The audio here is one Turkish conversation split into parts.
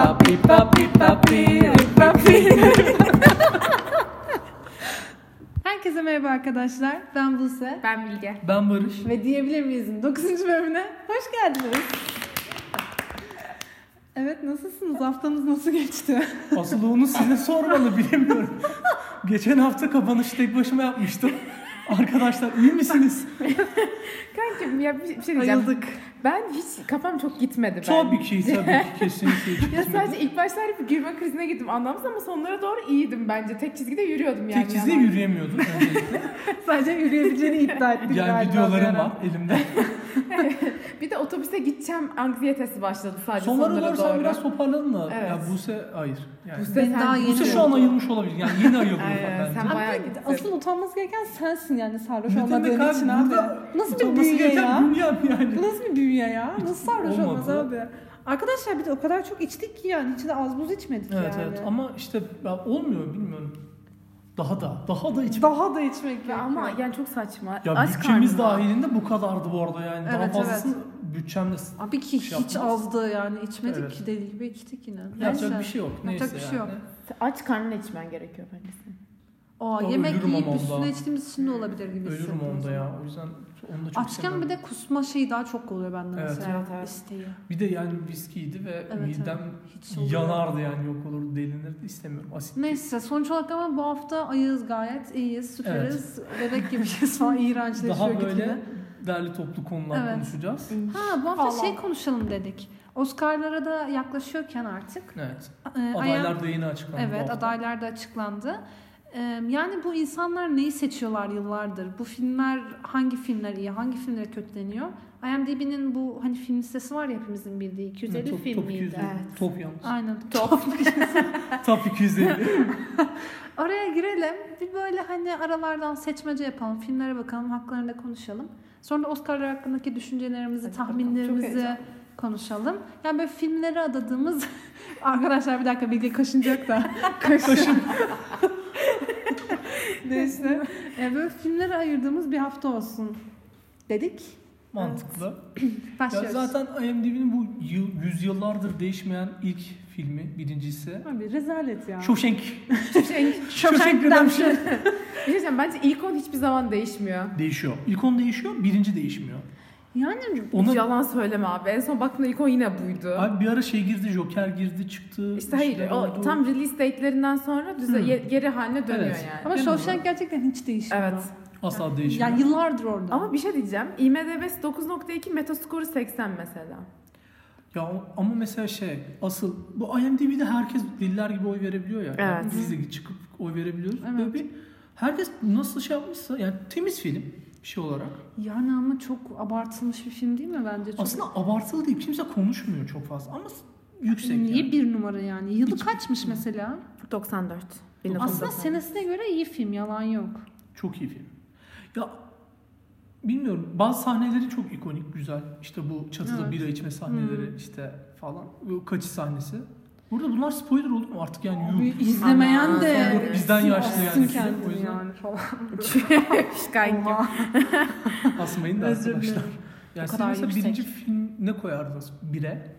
papi, papi, papi. Herkese merhaba arkadaşlar. Ben Buse. Ben Bilge. Ben Barış. Ve diyebilir miyiz'in 9. bölümüne hoş geldiniz. Evet nasılsınız? Haftanız nasıl geçti? Asıl onu size sormalı bilemiyorum. Geçen hafta kapanışı tek başıma yapmıştım. Arkadaşlar iyi misiniz? Kankim ya bir bir şey diyeceğim. Ayıldık. Ben hiç kafam çok gitmedi. Ben. tabii ki tabii ki kesinlikle. Ya hiç üzmedim. sadece ilk başlar bir gülme krizine gittim anlamsız ama sonlara doğru iyiydim bence. Tek çizgide yürüyordum yani. Tek çizgiye Yani. yürüyemiyordum. Yani, Sadece yürüyebileceğini iddia ettik yani galiba bir videolarım ara. var elimde. Bir de otobüse gideceğim anksiyetesi başladı sadece sonlara, Sonlara doğru sen doğru. biraz toparladın da. Evet. Ya Buse hayır. Yani. Buse- Ben daha yeni Buse şu an ayılmış olabilir. Yani yeni ayıldı ufak Aynen, bence. sen- Abi, Bayağı gitti. Asıl utanması gereken sensin yani sarhoş Ne olmadığın demek abi için abi. burada Nasıl bir utanması büyüye gereken ya? dünyam yani. Bu nasıl bir bünye ya? Nasıl sarhoş Olmadı. olmaz abi? Arkadaşlar bir de o kadar çok içtik ki yani hiç de az buz içmedik Evet yani. evet ama işte ya olmuyor bilmiyorum. Daha da daha da içim. Daha da içmek Ya gerekiyor. ama yani çok saçma. Ya Aç bütçemiz karnına. dahilinde bu kadardı bu arada yani. daha Evet, fazlası bütçemde s- Abi ki hiç Şey yapmıyoruz. azdı yani içmedik Evet. ki deli gibi içtik yine. Neyse. yapacak bir şey yok. Neyse Yapacak bir şey yani. yok. Aç karnına içmen gerekiyor bence. Aa, Ama yemek ölürüm yiyip ama ondan. üstüne içtiğimiz için de olabilir gibi Ölürüm hissettim. onda ya. O yüzden onu da çok Açken bir sevmem. de kusma şeyi daha çok oluyor bende Evet. mesela. Evet, evet. İsteği. Bir de yani viskiydi ve evet. midem Hiç oluyor. yanardı yani yok olurdu delinirdi istemiyorum. Asit. Neyse sonuç olarak ama bu hafta ayız gayet iyiyiz, süperiz. Bebek gibiyiz falan iğrençleşiyor Daha böyle gitgide. derli toplu konular Evet. konuşacağız. Ha bu hafta Allah. şey konuşalım dedik. Oscar'lara da yaklaşıyorken artık. Evet. e, I Am- Adaylar da yeni açıklandı. bu Evet hafta. adaylar da açıklandı. Ee, Yani bu insanlar neyi seçiyorlar yıllardır? Bu filmler hangi filmler iyi, hangi filmlere kötüleniyor? IMDb'nin bu hani film listesi var ya hepimizin bildiği 250 top, film top miydi? 250. Evet. Top yalnız. Aynen top. top 250. Oraya girelim. Bir böyle hani aralardan seçmece yapalım. Filmlere bakalım, haklarında konuşalım. Sonra da Oscar'lar hakkındaki düşüncelerimizi, Hadi bakalım. Çok tahminlerimizi heyecanlı. konuşalım. Yani böyle filmlere adadığımız... Arkadaşlar bir dakika Bilge kaşınacak da. Kaşın. Neyse. Yani E, böyle filmlere ayırdığımız bir hafta olsun dedik. Mantıklı. Ya Başlıyoruz. zaten IMDb'nin bu yıl, yüzyıllardır değişmeyen ilk filmi birincisi. Abi rezalet ya. Shawshank. Hiçbir şey, bir Shawshank Redemption. şey diyeceğim bence ilk on hiçbir zaman değişmiyor. Değişiyor. İlk on değişiyor, birinci değişmiyor. Yani Ona Hiç yalan söyleme abi. En son baktığında ilk on yine buydu. Abi bir ara şey girdi, Joker girdi, çıktı. işte hayır işte o oldu. tam release date'lerinden sonra düze, Hmm. ye- geri haline dönüyor Evet. yani. ama Değil mi Shawshank bu? gerçekten hiç değişmiyor. Evet. asla değişmiyor. Yani yıllardır orada. Ama bir şey diyeceğim. IMDb'si 9.2, Metascore'u 80 mesela. Ya o- ama mesela şey asıl bu IMDb'de herkes diller gibi oy verebiliyor ya. Yani Evet. biz de çıkıp oy verebiliyoruz. Evet. Böyle bir herkes nasıl şey yapmışsa yani temiz film bir şey olarak. Yani ama çok abartılmış bir film değil mi bence? Çok Aslında abartılı değil kimse konuşmuyor çok fazla ama s- yüksek. Niye yani. bir numara yani? Yılı kaçmış mesela? 94. Aslında 1994. senesine göre iyi film, yalan yok. Çok iyi film. Ya bilmiyorum bazı sahneleri çok ikonik güzel. İşte bu çatıda Evet. bira içme sahneleri işte falan. Bu kaçış sahnesi. Burada bunlar spoiler oldu mu artık yani yuh. Bir izlemeyen Aman, de sen bizden yaşlı Sizin yani. kendini O yüzden- yani falan. Kankim. Oha. Asmayın da Özür arkadaşlar. dilerim. Ya O siz kadar mesela yüksek. birinci film ne koyardınız? Bire.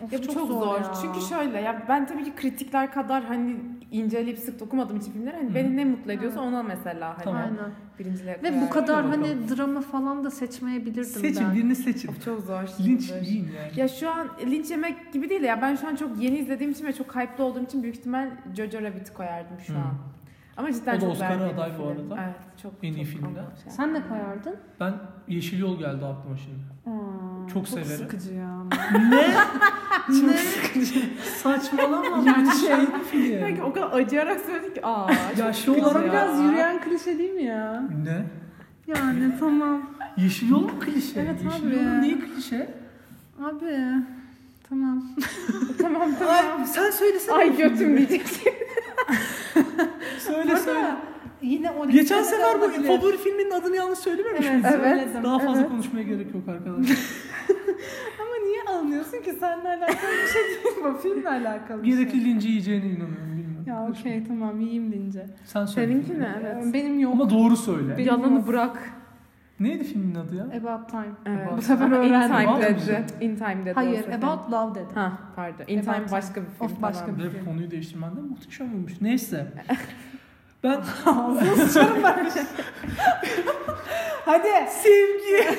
Of, Ya bu çok, zor. ya. Çünkü şey- şöyle ya ben tabii ki kritikler kadar hani inceleyip sık dokumadığım için filmleri hani Hı. beni ne mutlu ediyorsa ona mesela hani Tamam. Aynen. birinciliğe Ve bu koyarım. kadar Bakalım. hani drama falan da seçmeyebilirdim Seçin ben. birini seçin. Of, çok zor. Linç Zor. yiyin yani. Ya şu an linç yemek gibi değil de ya ben şu an çok yeni izlediğim için ve çok hype'lı olduğum için büyük ihtimal Jojo Rabbit'i koyardım şu Hı. an. Ama cidden O da çok Oscar'a beğendiğim aday bir bu film. arada. Evet, çok En iyi çok filmde. ama şey. Sen ne koyardın? Ben Yeşil Yol geldi aklıma şimdi. Aa, Çok severim. sıkıcı ya. ne? ne? Saçmalama. Yani şey Sanki film. o kadar acıyarak söyledik ki aa. Ya çok şey sıkıcı olarak ya. biraz yürüyen klişe değil mi ya? Ne? Yani tamam. Yeşil Yol mu klişe? Evet Yeşil abi. Yol'un niye klişe? Abi tamam. tamam tamam. Ay, sen söylesene. Ay götüm diyeceksin. Söyle söyle. Yine o Geçen sefer bu olabilir. favori filminin adını yanlış söylememiş şey Evet, miydin? evet. Daha fazla Evet. konuşmaya gerek yok arkadaşlar. Ama niye alınıyorsun ki? Seninle alakalı bir şey değil bu. Filmle alakalı bir şey. Gerekli linci yiyeceğine inanıyorum. Bilmiyorum. Ya okey tamam yiyeyim deyince. Ee, Sen söyle. Seninki ne? Evet. Benim yok. Ama doğru söyle. Benim Yalanı yok. bırak. Neydi filmin adı ya? About Time. Evet. Bu Ama sefer öğrendim. In time About dedi. In time dedi. Hayır, o zaten. About Love dedi. Ha pardon. In About time başka bir film. Of, başka tamam. bir- Ve konuyu değiştirmen de muhteşem olmuş. Neyse. Ben Ağzına sıçarım ben. Hadi. Sevgi.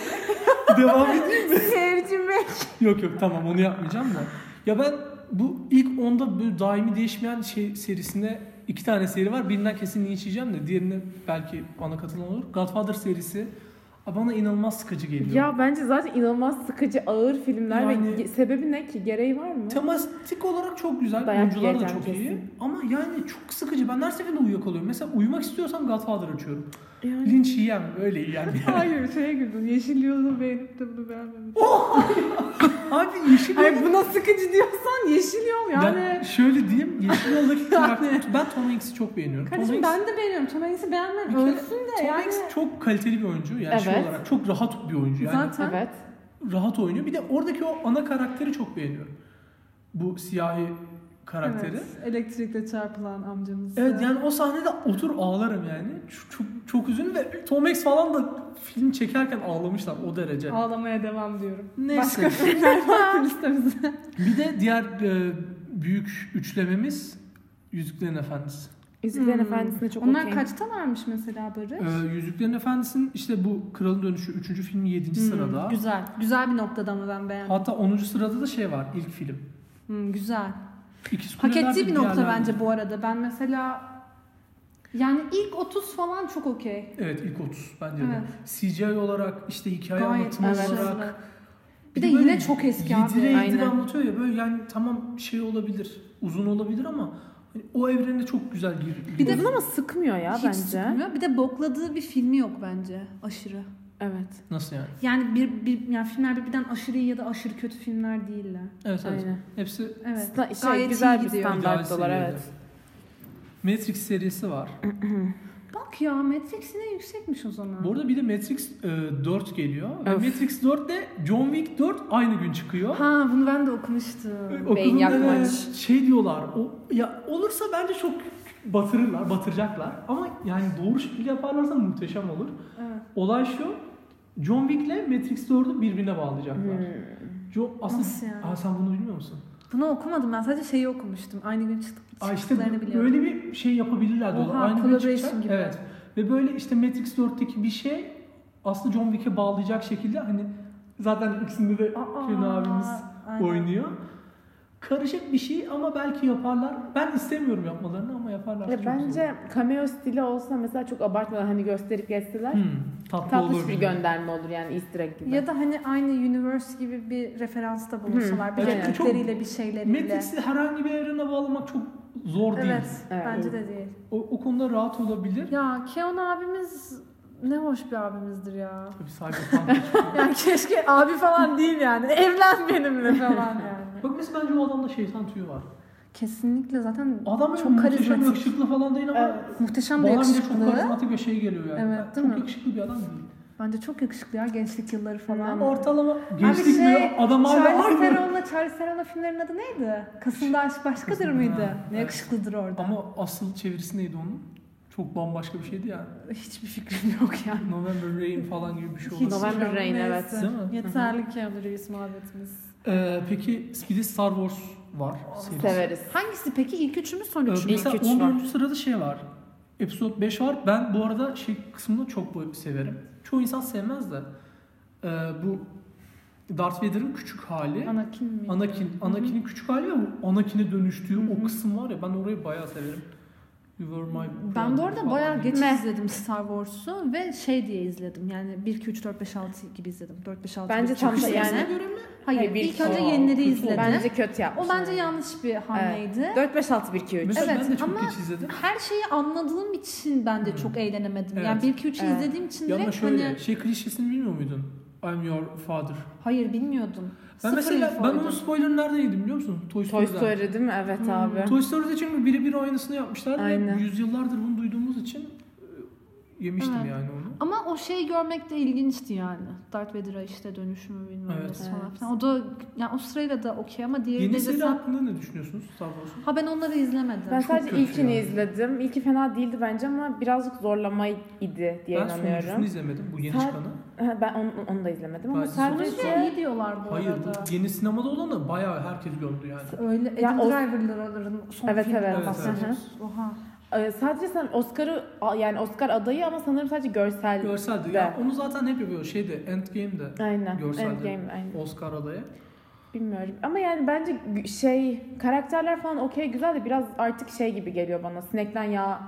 devam edeyim. Sevcimek. Yok yok tamam onu yapmayacağım da. Ya ben bu ilk onda böyle daimi değişmeyen şey serisinde iki tane seri var. Birinden kesin linç yiyeceğim de diğerine belki bana katılan olur. Godfather serisi bana inanılmaz sıkıcı geliyor. Ya bence zaten inanılmaz sıkıcı ağır filmler Yani- ve ge- sebebi ne ki? Gereği var mı? Tematik olarak çok güzel. Dayak Oyuncular da yiyeceğim çok kesin. iyi. Ama yani çok sıkıcı. Ben her seferinde uyuyakalıyorum. Mesela uyumak istiyorsam Godfather açıyorum. Yani- Linç yiyem. Öyle yiyem yani. Hayır şeye güldüm. Yeşil yolunu beğenip de bunu beğenmemiş. Abi yeşil Hayır buna sıkıcı diyorsan yeşil yol yani. Ben şöyle diyeyim. Yeşil yoldaki karakter. ben Tom Hanks'i çok beğeniyorum. Tom Kardeşim Hanks- ben de beğeniyorum. Tom Hanks'i beğenmem. Bir kere Ölsün de Tom yani. Hanks çok kaliteli bir oyuncu. Yani şey Evet. olarak çok rahat bir oyuncu. Yani Zaten Evet. rahat oynuyor. Bir de oradaki o ana karakteri çok beğeniyorum. Bu siyahi karakteri. Evet. Evet, elektrikle çarpılan amcamız. yani o sahnede otur ağlarım yani. Çok, çok, çok üzüldüm ve Tom Hanks falan da film çekerken ağlamışlar o derece. Ağlamaya devam diyorum. Neyse. Başka filmler var mı listemizde. Bir de diğer e, büyük üçlememiz Yüzüklerin Efendisi. Yüzüklerin Hmm. Efendisi'ne çok Onlar okeyim. kaçta varmış mesela Barış? E, Yüzüklerin Efendisi'nin işte bu Kralın Dönüşü 3. filmi 7. Hmm, sırada. Güzel. Güzel bir noktada mı ben beğendim? Hatta 10. sırada da şey var ilk film. Hmm, güzel. İkiz Hak Kuleler ettiği bir nokta diğerlerinde. bence bu arada. Ben mesela yani ilk 30 falan çok okey. Evet ilk 30 bence Evet. de. CGI olarak işte hikaye Gayet anlatımı başarılı. olarak. Bir de yine çok eski abi. Yedire yedire Aynen. anlatıyor ya böyle yani tamam şey olabilir uzun olabilir ama hani o evrene çok güzel gir. Bir de- Uzun ama sıkmıyor ya Hiç bence. sıkmıyor. Bir de bokladığı bir filmi yok bence aşırı. Evet. Nasıl yani? Yani bir, bir yani filmler birbirinden aşırı iyi ya da aşırı kötü filmler değiller. Evet evet. Aynen. Hepsi Evet. Sta- şey, Gayet güzel iyi bir gidiyor. ideal standart dolar seviyede. evet. Matrix serisi var. Bak ya Matrix ne yüksekmiş o zaman. Bu arada bir de Matrix e, 4 geliyor. Ve Öf. Matrix 4 de John Wick 4 aynı gün çıkıyor. Ha bunu ben de okumuştum. Okulun Beyin yakmaç. evet, şey diyorlar. O ya olursa bence çok batırırlar, batıracaklar. Ama yani doğru şekilde yaparlarsa muhteşem olur. Evet. Olay şu. John Wick'le Matrix 4'ü birbirine bağlayacaklar. Hmm. Jo- aslında Nasıl yani? Aa, sen bunu bilmiyor musun? Bunu okumadım ben sadece şeyi okumuştum. Aynı gün çıktık, Aa, işte çıktıklarını biliyorum. böyle bir şey yapabilirler diyorlar. Oha, Aynı gün collaboration çıkacak. gibi. Evet. Ve böyle işte Matrix 4'teki bir şey aslında John Wick'e bağlayacak şekilde hani zaten ikisinde de Aa, Keanu abimiz aynen. oynuyor. Karışık bir şey ama belki yaparlar. Ben istemiyorum yapmalarını ama yaparlar. Ve şey bence cameo stili olsa mesela çok abartmadan hani gösterip geçseler Hmm, tatlı, tatlış olur. bir gönderme olur yani easter egg gibi. Ya da hani aynı universe gibi bir referansta bulunsalar. Hı. Bir Evet, replikleriyle bir şeyleriyle. Matrix'i herhangi bir evrene bağlamak çok zor değil. Evet, Evet. bence de değil. O, o konuda rahat olabilir. Ya Keon abimiz ne hoş bir abimizdir ya. Tabii Cyberpunk. şey. Yani keşke abi falan değil yani. Evlen benimle falan yani. Bak mesela bence o adamda şeytan tüyü var. Kesinlikle zaten Adam çok çok muhteşem karizmatik. yakışıklı falan değil ama Evet. Muhteşem bir bana bile çok yakışıklı. karizmatik bir şey geliyor yani. Evet, Ben değil çok mi? yakışıklı bir adam değil. Bence çok yakışıklı ya gençlik yılları falan. şey, Hı. Ortalama gençlik bir adam hala Charles aynı. Theron'la Charles Theron'la filmlerin adı neydi? Kasım'da Aşk Başkadır mıydı? Ha, Ne evet. yakışıklıdır orada. Ama asıl çevirisi neydi onun? Çok bambaşka bir şeydi yani. Hiçbir fikrim yok yani. November Rain falan gibi bir şey Hiç olabilir. November bilmiyorum, Rain, neyse. evet. Değil mi? Yeterli Keanu Reeves muhabbetimiz. Ee, peki bir de Star Wars var. serisi. Severiz. Hangisi peki? İlk üçü mü son Ee, üçü mü? İlk mesela üç 14. var. sırada şey var. Episode 5 var. Ben bu arada şey kısmını çok bu- severim. Çoğu insan sevmez de. Ee, bu Darth Vader'ın küçük hali. Anakin mi? Anakin. Anakin'in küçük hali ve bu Anakin'e dönüştüğü o kısım var ya ben orayı bayağı severim. You were my Ben friend bu arada falan bayağı diye. geç Meh. izledim Star Wars'u ve şey diye izledim. Yani 1 2 3 4 5 6 gibi izledim. 4 5 6 Bence gibi tam da çıkışlarına yani- göre mi? Hayır, Hayır, bir- ilk önce Aa, yenileri kötü izledim. Bence kötü yapmış. o bence yanlış bir hamleydi. 4 5 6 1 2 3. Mesela ben de Evet, çok ama- geç izledim. Her şeyi anladığım için ben de çok eğlenemedim. Evet. Yani 1 2 3 Evet. izlediğim için Ya ama direkt şöyle hani şey klişesini bilmiyor muydun? I'm your father. hayır bilmiyordum. Ben Sıfır mesela ben infoydum. onun spoilerını nereden yedim biliyor musun? Toy Toy Story'den. Story değil mi? Evet Hmm. abi. Toy Story'de çünkü birebir aynısını yapmışlar ve Aynen. yüzyıllardır bunu duyduğumuz için e, yemiştim Evet. yani onu. Ama o şeyi görmek de ilginçti yani. Darth Vader'a işte dönüşümü bilmem Evet. nesi falan. Evet. filan. O da yani o sırayla da okey ama diğeri Yeni de seri sen... hakkında ne düşünüyorsunuz Star Wars'un? Ha ben onları izlemedim. Ben Çok sadece kötü ilkini yani. izledim. İlki fena değildi bence ama birazcık zorlama idi diye Ben sonuncusunu inanıyorum. izlemedim bu yeni Sen- çıkanı. Ha, Ben onu, onu da izlemedim ama Ben Sonucu sadece iyi diyorlar bu Hayır arada. bu yeni sinemada olanı bayağı herkes gömdü yani. Öyle Adam Ya o- Driver'ların son Evet, filminden evet. bahsediyoruz. Oha. e, sadece sen Oscar'ı yani Oscar adayı ama sanırım sadece görsel. Görseldi. de. Ya, onu zaten hep yapıyor şeyde Endgame'de Aynen. Görsel de. Endgame, aynen. Oscar adayı. Bilmiyorum. Ama yani bence gü- şey karakterler falan okey güzel de biraz artık şey gibi geliyor bana. Sinekten yağ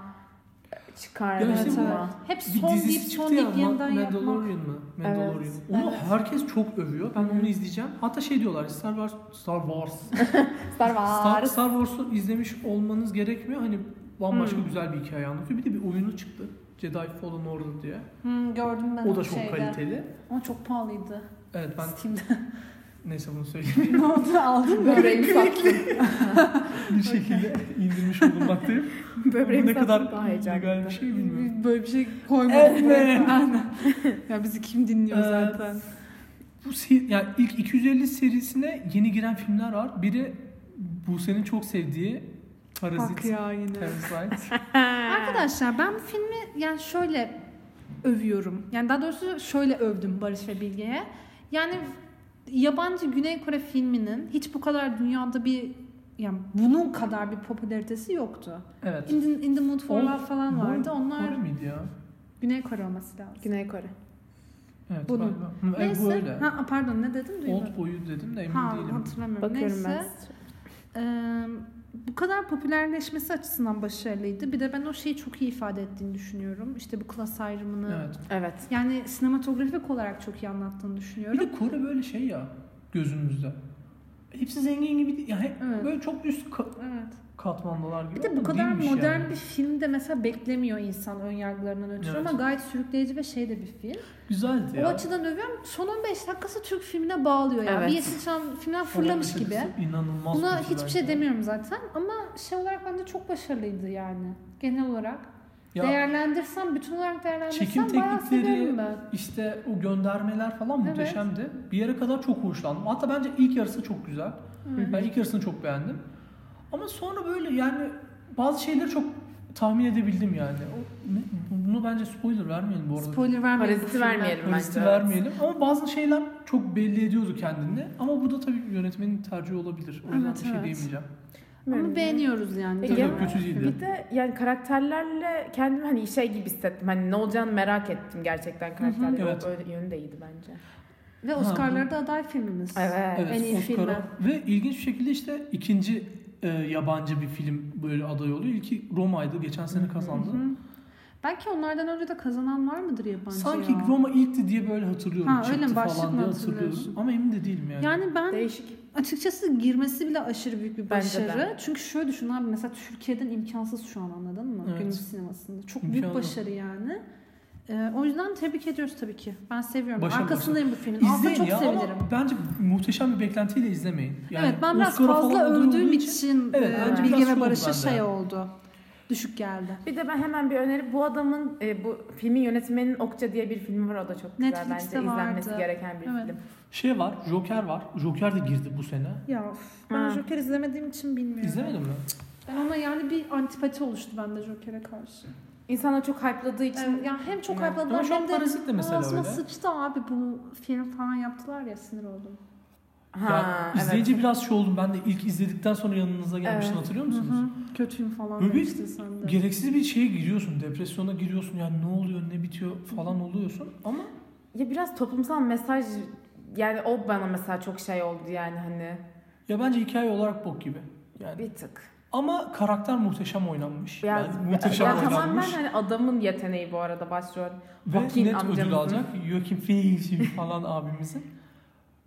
e, çıkarma. Ya işte bu- falan. Hep Bir son deyip dizisi son çıktı ya deyip Ma- yeniden yapmak. Mandalorian mı? Mandalorian. Evet, Onu evet. herkes çok övüyor. Ben Hı. onu izleyeceğim. Hatta şey diyorlar Star Wars Star Wars Star Star, Wars. Star Wars'u izlemiş olmanız gerekmiyor. Hani bambaşka Hmm. güzel bir hikaye anlatıyor. Bir de bir oyunu çıktı. Jedi Fallen Order diye. Hmm, gördüm ben o onu da çok şeyde. kaliteli. Ama çok pahalıydı. Evet ben Steam'de. neyse bunu söyleyeyim. ne oldu aldın mı? Böbreğimi sattım. bir şekilde indirmiş bulunmaktayım. Bu Böbreğimi ne sattım kadar daha heyecanlı. legal bir şey bilmiyorum. Böyle bir şey koymadım. Evet. Aynen. ya bizi kim dinliyor Ee, zaten? Bu se- yani ilk 250 serisine yeni giren filmler var. Biri Buse'nin çok sevdiği Bak Parazit. ya yine. Parasite. Arkadaşlar ben bu filmi yani şöyle övüyorum. Yani daha doğrusu şöyle övdüm Barış ve Bilge'ye. Yani yabancı Güney Kore filminin hiç bu kadar dünyada bir yani bunun kadar bir popülaritesi yoktu. evet. In the, In the Mood for Ol- Love falan vardı. Onlar Kore miydi ya? Güney Kore olması lazım. Güney Kore. Evet. Bunu. galiba. Hı, evet, bu Neyse. öyle. Ha, pardon ne dedim duymadım. Old boyu dedim de emin Ha, değilim. hatırlamıyorum. Bakıyorum Neyse. Ee, bu kadar popülerleşmesi açısından başarılıydı. Bir de ben o şeyi çok iyi ifade ettiğini düşünüyorum. İşte bu klas ayrımını. Evet. ben. Evet. Yani sinematografik olarak çok iyi anlattığını Bir düşünüyorum. de Kore böyle şey ya gözümüzde. Hepsi zengin gibi değil. Yani hep Evet. böyle çok üst ka- Evet. katmandalar gibi. Bir de ama bu kadar değilmiş modern yani. bir film de mesela beklemiyor insan ön yargılarından ötürü Evet. ama gayet sürükleyici ve şey de bir film. Güzeldi O ya. açıdan övüyorum. Son 15 dakikası Türk filmine bağlıyor ya. Evet. Bir Yeşilçam filmden fırlamış Onun gibi. meselesi İnanılmaz. Buna kötü hiçbir şey bence. demiyorum zaten ama şey olarak bence çok başarılıydı yani genel olarak. Ya değerlendirsem, bütün olarak değerlendirsem Çekim bayağı teknikleri- severim ben. işte o göndermeler falan Evet. muhteşemdi. Bir yere kadar çok hoşlandım. Hatta bence ilk yarısı çok güzel. Evet. Ben ilk yarısını çok beğendim. Ama sonra böyle yani bazı şeyleri çok tahmin edebildim yani. O- ne- Bunu bence spoiler vermeyelim bu arada. Spoiler vermeyelim. Paraziti bu filme. vermeyelim. Hırsızı bence. vermeyelim. Ama bazı şeyler çok belli ediyordu kendini. Ama bu da tabii yönetmenin tercihi olabilir. O yüzden Evet, bir şey evet. diyemeyeceğim. Bilmiyorum. Ama beğeniyoruz yani. Peki, Tabii genel- kötü değildi. Bir de yani karakterlerle kendimi hani şey gibi hissettim. Hani ne olacağını merak ettim gerçekten karakterler. Evet. Öyle yönü de iyiydi bence. Ve Oscar'larda aday filmimiz. Evet, En iyi Oscar'a- filmi. Ve ilginç bir şekilde işte ikinci e, yabancı bir film böyle aday oluyor. İlki Roma'ydı. Geçen sene kazandı. Hı. Belki onlardan önce de kazanan var mıdır yabancı Sanki ya? Roma ilkti diye böyle hatırlıyorum. Ha, Çıktı öyle mi? Başlık falan mı diye hatırlıyorsun? hatırlıyorum. Ama emin de değilim yani. Yani ben Değişik. açıkçası girmesi bile aşırı büyük bir Bence de. başarı. Çünkü şöyle düşün abi mesela Türkiye'den imkansız şu an anladın mı? Evet. Günümüz sinemasında. Çok büyük İmkanı. başarı yani. Ee, o yüzden tebrik ediyoruz tabii ki. Ben seviyorum. Başarı, Arkasındayım bu filmin. Aslında İzleyin çok ya sevinirim. ama bence muhteşem bir beklentiyle izlemeyin. Yani evet ben biraz Oscar'a falan fazla aday övdüğüm olduğu için, Evet, e, bence biraz Bilge şey ve oldu Barış'a bende. şey oldu. Düşük geldi. Bir de ben hemen bir öneri bu adamın e, bu filmin yönetmeninin Okça diye bir filmi var o da çok güzel Netflix'te bence izlenmesi vardı. gereken bir Evet. film. Şey var, Joker var. Joker de girdi bu sene. Ya ben Ha. Joker izlemediğim için bilmiyorum. İzlemedin mi? Ben ona yani bir antipati oluştu bende Joker'e karşı. İnsanlar çok hype'ladığı için Yani, yani hem çok Evet. hype'ladılar Ama şu an hem de Parazit de mesela ağzıma öyle. sıçtı abi bu film falan yaptılar ya sinir oldum. Ya, izleyince biraz şey oldum. Ben de ilk izledikten sonra yanınıza gelmiştim Evet. hatırlıyor musunuz? Kötüyüm falan Böyle bir- demiştin sen de. Gereksiz bir şeye giriyorsun, depresyona giriyorsun. Yani ne oluyor, ne bitiyor falan oluyorsun. Ama Ya biraz toplumsal mesaj yani o bana mesela çok şey oldu yani hani ya bence hikaye olarak bok gibi. Yani bir tık. ama karakter muhteşem oynanmış. Biraz, yani muhteşem ya, oynanmış. tamamen hani adamın yeteneği bu arada başrol. Ve Joaquin net amcamızın. ödül alacak. Joaquin Phoenix falan abimizin.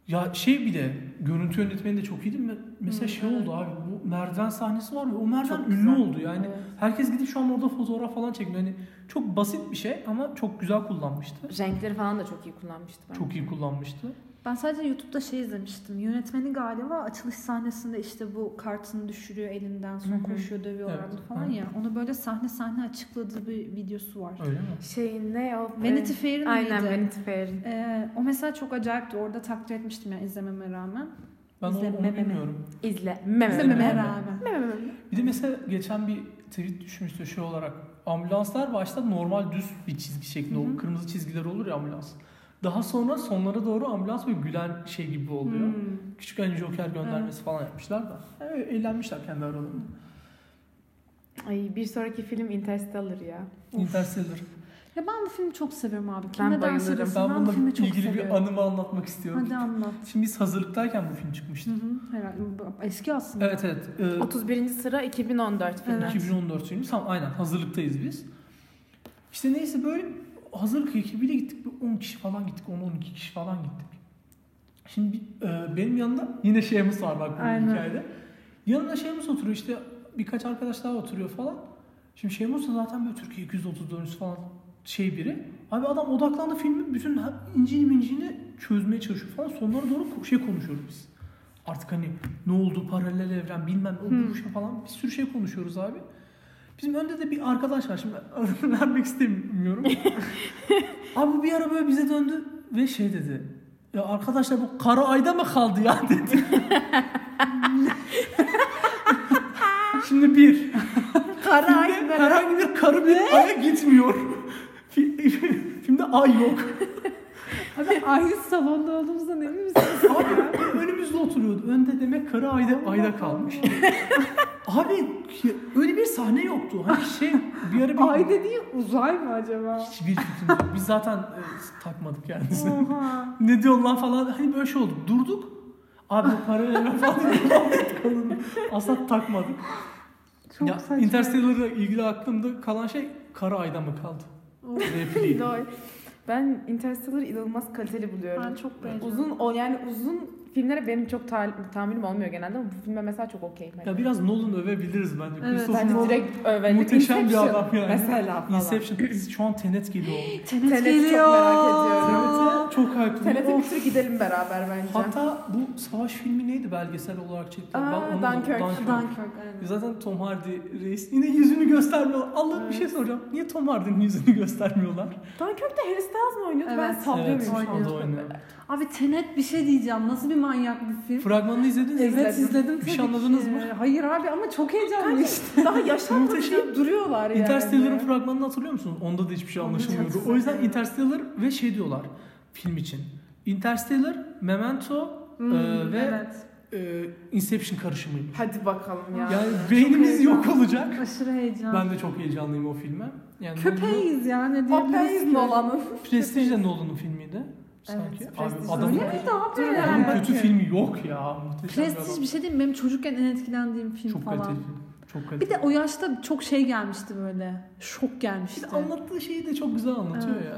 Ya şey bile görüntü yönetmeni de çok iyiydi. Me- Mesela şey oldu abi bu merdiven sahnesi var ya o merdiven Çok ünlü güzel. oldu yani. Evet. Herkes gidip şu an orada fotoğraf falan çekiyor. Hani çok basit bir şey ama çok güzel kullanmıştı. Renkleri falan da çok iyi kullanmıştı bence. Çok iyi kullanmıştı. Ben sadece YouTube'da şey izlemiştim. Yönetmeni galiba açılış sahnesinde işte bu kartını düşürüyor elinden sonra Hı hı. koşuyor dövüyorlar Evet, falan aynen. ya. Onu böyle sahne sahne açıkladığı bir videosu var. Öyle mi? Şey ne o? Vanity Fair'in Aynen miydi? Vanity Fair'in. Ee, o mesela çok acayipti. Orada takdir etmiştim yani izlememe rağmen. Ben onu, onu İzlememe. bilmiyorum. İzle. İzlememe Meme. rağmen. Bir de mesela geçen bir tweet düşmüştü şey olarak. Ambulanslar başta normal düz bir çizgi şeklinde Hı hı. olur. Kırmızı çizgiler olur ya ambulans. Daha sonra sonlara doğru ambulans böyle gülen şey gibi oluyor. Hmm. Küçük hani Joker göndermesi falan yapmışlar da. Yani öyle eğlenmişler kendi aralarında. Ay bir sonraki film Interstellar ya. Of. Interstellar. Ya ben bu filmi çok seviyorum abi. Kim ne derse bayılırım. desin Ben ben bu bununla filmi çok ilgili bir seviyorum. anımı anlatmak istiyorum. Hadi anlat. Şimdi biz hazırlıktayken bu film Hı çıkmıştı. hı, Herhalde. Bu Eski aslında. Evet evet. Ee, 31. sıra 2014 filmi. Evet. 2014 filmi. Tam aynen hazırlıktayız biz. İşte neyse böyle hazırlık ekibiyle gittik. Bir 10 kişi falan gittik. 10-12 kişi falan gittik. Şimdi bir- e, benim yanımda yine Şemus var bak bu Aynen. hikayede. Yanımda Şemus oturuyor işte birkaç arkadaş daha oturuyor falan. Şimdi Şemus da zaten böyle Türkiye 234 falan şey biri. Abi adam odaklandı filmin bütün ha- incini mincini çözmeye çalışıyor falan. Sonlara doğru ko- şey konuşuyoruz biz. Artık hani ne oldu paralel evren bilmem ne Hmm. bu şey falan bir sürü şey konuşuyoruz abi. Bizim önde de bir arkadaş var şimdi adını vermek istemiyorum. abi bu bir ara böyle bize döndü ve şey dedi. Ya arkadaşlar bu kara ayda mı kaldı ya dedi. şimdi bir Filmde herhangi bir karı bir aya gitmiyor. Fi- Filmde ay yok. Abi aynı salonda olduğumuzdan emin misin? Abi önümüzde oturuyordu. Önde demek karı ayda, ayda kalmış. Abi ya, öyle bir sahne yoktu. Hani şey bir ara bir... Ay dediği uzay mı acaba? Hiçbir fikrim yok. Biz zaten e, takmadık kendisini. Oha. ne diyor lan falan. Hani böyle şey oldu. Durduk. Abi bu paralel evren falan diye muhabbet kalındı. Asla takmadık. Çok ya, saçma. Interstellar'la ilgili aklımda kalan şey kara ayda mı kaldı? Repliği. Lol. Ben Interstellar'ı inanılmaz kaliteli buluyorum. Ben çok beğendim. Uzun o yani uzun filmlere benim çok ta- tahammülüm olmuyor genelde ama bu filme mesela çok okeyim. Ya biraz Nolan övebiliriz bence. Evet, Christopher Bence Nolan direkt övelim. muhteşem Inception bir adam yani. Mesela falan. Inception şu an Tenet gibi oldu. Tenet, Tenet'i çok geliyor. merak ediyorum. Tenet'e çok hype'lıyım. Tenet'e Of. götürüp gidelim beraber bence. Hatta bu savaş filmi neydi belgesel olarak çektiler? Aa, onu da- Dunkirk. Dunkirk aynen. Zaten Tom Hardy reis. Yine yüzünü göstermiyorlar. Allah bir şey soracağım. Niye Tom Hardy'nin yüzünü göstermiyorlar? Dunkirk'te Harry Styles mi oynuyordu? Ben Evet. sallıyor muyum şu an? o da oynuyor. Abi Tenet bir şey diyeceğim. Nasıl bir manyak bir film? Fragmanını izlediniz mi? Evet izledim. izledim Bir tabii şey anladınız ki. Ee, mı? Hayır abi ama çok heyecanlı işte. Daha yaşanmadı Muhteşem. deyip duruyorlar şey yani. Interstellar'ın fragmanını hatırlıyor musunuz? Onda da hiçbir şey anlaşılmıyordu. çok O yüzden güzel. Interstellar ve şey diyorlar film için. Interstellar, Memento Hmm, e, ve evet. e, Inception karışımıymış. Hadi bakalım ya. Yani beynimiz heyecanlı. yok olacak. Aşırı heyecanlı. Ben de çok heyecanlıyım o filme. Yani Köpeğiz ya ne diyebiliriz Apeyiz ki? Nolan'ın. Nolan- Prestige de Nolan'ın filmiydi. Sanki. Evet, Abi Prestige. adamın, Öyle mi abi? Öyle adamın yani. kötü filmi yok ya. Muhteşem bir Prestij adam. bir şey değil mi? Benim çocukken en etkilendiğim film Çok falan. kaliteli film. Çok kaliteli. Bir de o yaşta çok şey gelmişti böyle. Şok Bir gelmişti. de anlattığı şeyi de çok güzel anlatıyor Evet. ya.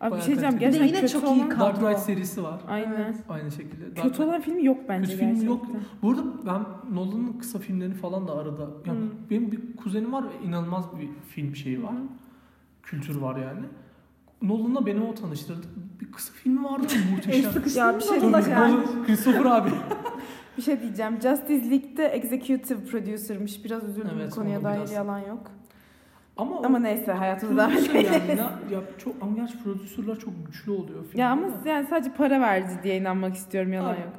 Abi bir Bayağı şey diyeceğim kaliteli. gerçekten Bir de yine kötü çok iyi olan... kadro. Dark Knight serisi var. Aynen. Aynı şekilde. Dark Kötü Knight- olan film yok bence Kötü film gerçekten. yok. Bu arada ben Nolan'ın kısa filmlerini falan da arada... Ya Hmm. Benim bir kuzenim var ve inanılmaz bir film şeyi var. Kültür var yani. Nolan'la beni o tanıştırdı. Bir kısa filmi vardı ya, muhteşem. Ya bir şey Tabii, diyeceğim. Nolan- Christopher abi. Bir şey diyeceğim. Justice League'de executive producer'mış. Biraz üzüldüm Evet, bu konuya ona dair biraz- yalan yok. Ama, Ama neyse hayatımız devam prodüser ediyor. yani. Ya, ya çok, ama gerçi prodüsörler çok güçlü oluyor. filmde Ya ama de. yani sadece para verdi diye inanmak istiyorum yalan Abi, yok.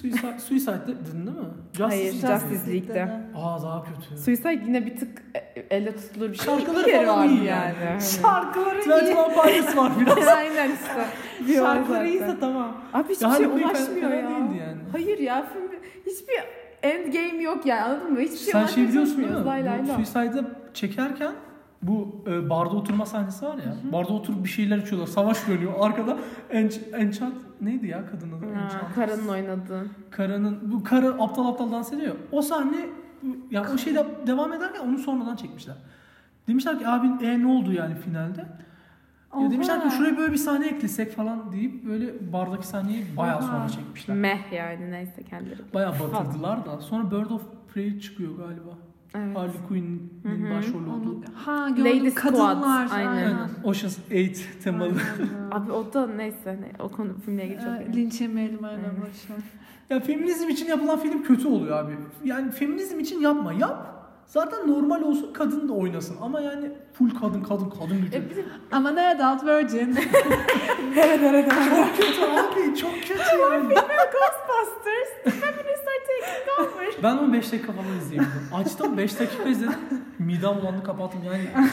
Suicide, Suicide dedin değil mi? Justice Hayır, League. Justice League'de. Aa daha kötü. Suicide yine bir tık e- elle tutulur bir şey. Şarkıları Bir kere falan vardı iyi yani. Şarkıları iyi. Twenty One Pilots var biraz. Aynen işte. Diyorlar Şarkıları iyiyse zaten. tamam. Abi hiçbir Yani şey bu fena- ulaşmıyor fena ya. değildi yani. Hayır ya film hiçbir end game yok yani anladın mı? Hiçbir Sen şey şey anlatmaya biliyorsun değil mi? çalışmıyoruz. Lay lay Bu lay. Suicide'ı çekerken bu e, barda oturma sahnesi var ya. Barda oturup bir şeyler içiyorlar. Savaş dönüyor. Arkada Ench- Enchant neydi ya kadının adı? Ha, Enchant. Karanın oynadığı. Karanın bu karı aptal aptal dans ediyor. ya. O sahne ya o şey de, devam ederken onu sonradan çekmişler. Demişler ki abin e ne oldu yani finalde? Ya demişler ki şuraya böyle bir sahne eklesek falan deyip böyle bardaki sahneyi bayağı Oha. sonra çekmişler. Meh yani neyse kendileri. Bayağı batırdılar da. Sonra Bird of Prey çıkıyor galiba. Evet. Harley Quinn'in Hı hı, başrolü Onu, olduğu. ha gördüm Lady Squad, kadınlar. aynen. Aynen. Ocean's 8 temalı. Abi o da neyse ne, o konu filmle ilgili çok Ee, iyi. Linç yemeyelim aynen Aynen. boşver. Ya feminizm için yapılan film kötü oluyor abi. Yani feminizm için yapma yap. Zaten normal olsun kadın da oynasın. Ama yani full kadın kadın kadın gücü. E, bizim Ama ne adult virgin. çok kötü abi çok kötü yani. Ghostbusters, the feminists are taking over. Ben onu 5 dakika falan izleyebildim. Açtım 5 dakika izledim. Midem bulandı kapattım yani.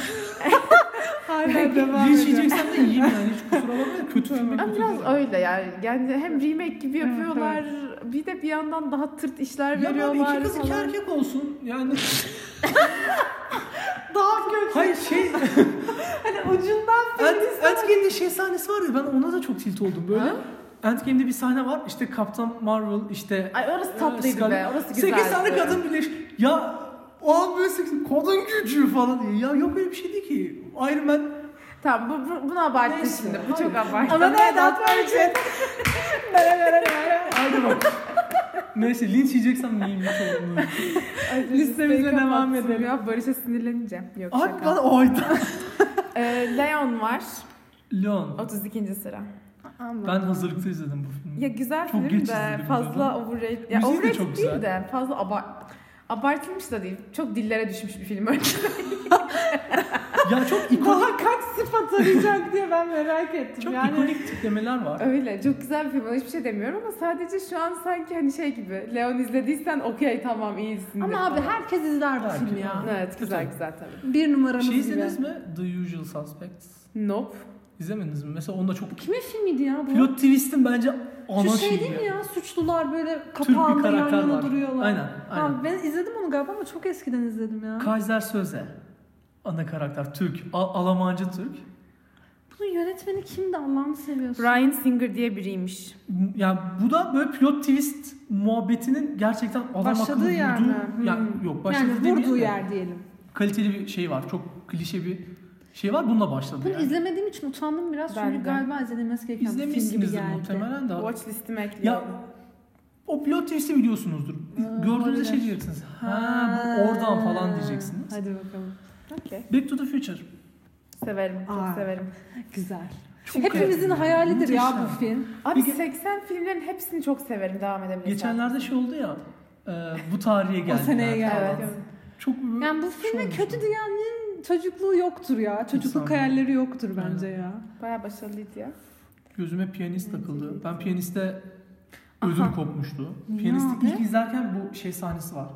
Hala devam Linç ediyor. yiyeceksem de yiyeyim yani. Hiç kusura bakma da kötü filmi Ama kötü. biraz diyorum. öyle yani. yani hem remake gibi yapıyorlar bir de bir yandan daha tırt işler Ya abi veriyorlar iki kız iki falan. erkek olsun. Yani Daha kötü. hayır şey Hani ucundan Ant- Endgame'de şey sahnesi var ya ben ona da çok tilt oldum böyle. Ha? Endgame'de bir sahne var işte Captain Marvel işte e, Ay orası tatlıydı Scarlet- be orası güzeldi. 8 tane kadın birleş. Ya o an böyle 8 kadın gücü falan diye. Ya yok öyle bir şey değil ki. Iron Man Tamam bu, bu, bunu abarttın Neyse, şimdi bu hayır. çok abarttın. Ama ne adult virgin. Hadi bak. Neyse linç yiyeceksem neyim linç olduğunu. Ay, Listemize devam kapattım edelim. Ya Barış'a sinirlenince. Yok Abi şaka. bana o ayda. Ee, Leon var. Leon. 32. sıra. Ben hazırlıkta izledim bu filmi. Ya güzel Çok film geç de izledim fazla zaten. overrated. Ya Müziği de overrated çok değil güzel. de fazla abart abartılmış da değil. Çok dillere düşmüş bir film öyle. ya çok ikonik, Daha kaç sıfat arayacak diye ben merak ettim. çok yani ikonik tiplemeler var. Öyle çok güzel bir film. Ona hiçbir şey demiyorum ama sadece şu an sanki hani şey gibi. Leon izlediysen okey tamam iyisin. Ama abi herkes izler bu filmi ya. Evet güzel Tabii. güzel tabii. Bir numaramız Şey gibi. izlediniz mi? The Usual Suspects. Nope. İzlemediniz mi? Mesela onda çok... Kimin filmiydi ya bu? Pilot twist'in bence ana Şu şey şeyi değil mi ya. ya? Suçlular böyle Türk bir kapağında yan karakter yana var. duruyorlar. Aynen. aynen. Abi ben izledim onu galiba ama çok eskiden izledim ya. Kaiser Söze. Ana karakter Türk. A- Almancı Türk. Bunun yönetmeni kimdi Allah'ını seviyorsun? Ryan Singer diye biriymiş. M- Ya bu da böyle pilot twist muhabbetinin gerçekten adam Başladığı akıllı yer vurduğu- mi? Hmm. Yani yok başladı yani demeyelim vurduğu de yer diyelim. Kaliteli bir şey var. Çok klişe bir şey var. Bununla başladı Bunu yani. izlemediğim için utandım biraz Ben çünkü de. galiba izlemesi gereken bir film gibi İzlemişsinizdir geldi. muhtemelen de. Watch listime Ya ekliyorum. o pilot twist'i biliyorsunuzdur. Ha, Gördüğünüzde olabilir. şey diyeceksiniz. Ha, bu oradan falan diyeceksiniz. Hadi bakalım. Okey. Back to the Future. Severim. Çok Aa. severim. Güzel. Çok Hepimizin kaliteli. hayalidir ya Muhteşem. bu film. Abi Bir ge- 80 filmlerin hepsini çok severim. Devam edebilirsen. Geçenlerde şey oldu ya. e, bu tarihe O geldi. seneye geldi. geldik. Evet. Çok Yani bu Şey filme olmuş. kötü diyenlerin çocukluğu yoktur ya. Çocukluk sanmıyorum. hayalleri yoktur bence ya. Baya başarılıydı ya. Gözüme piyanist takıldı. Ben piyaniste ödül Aha. kopmuştu. Niye Piyanisti abi? ilk izlerken bu şey sahnesi var.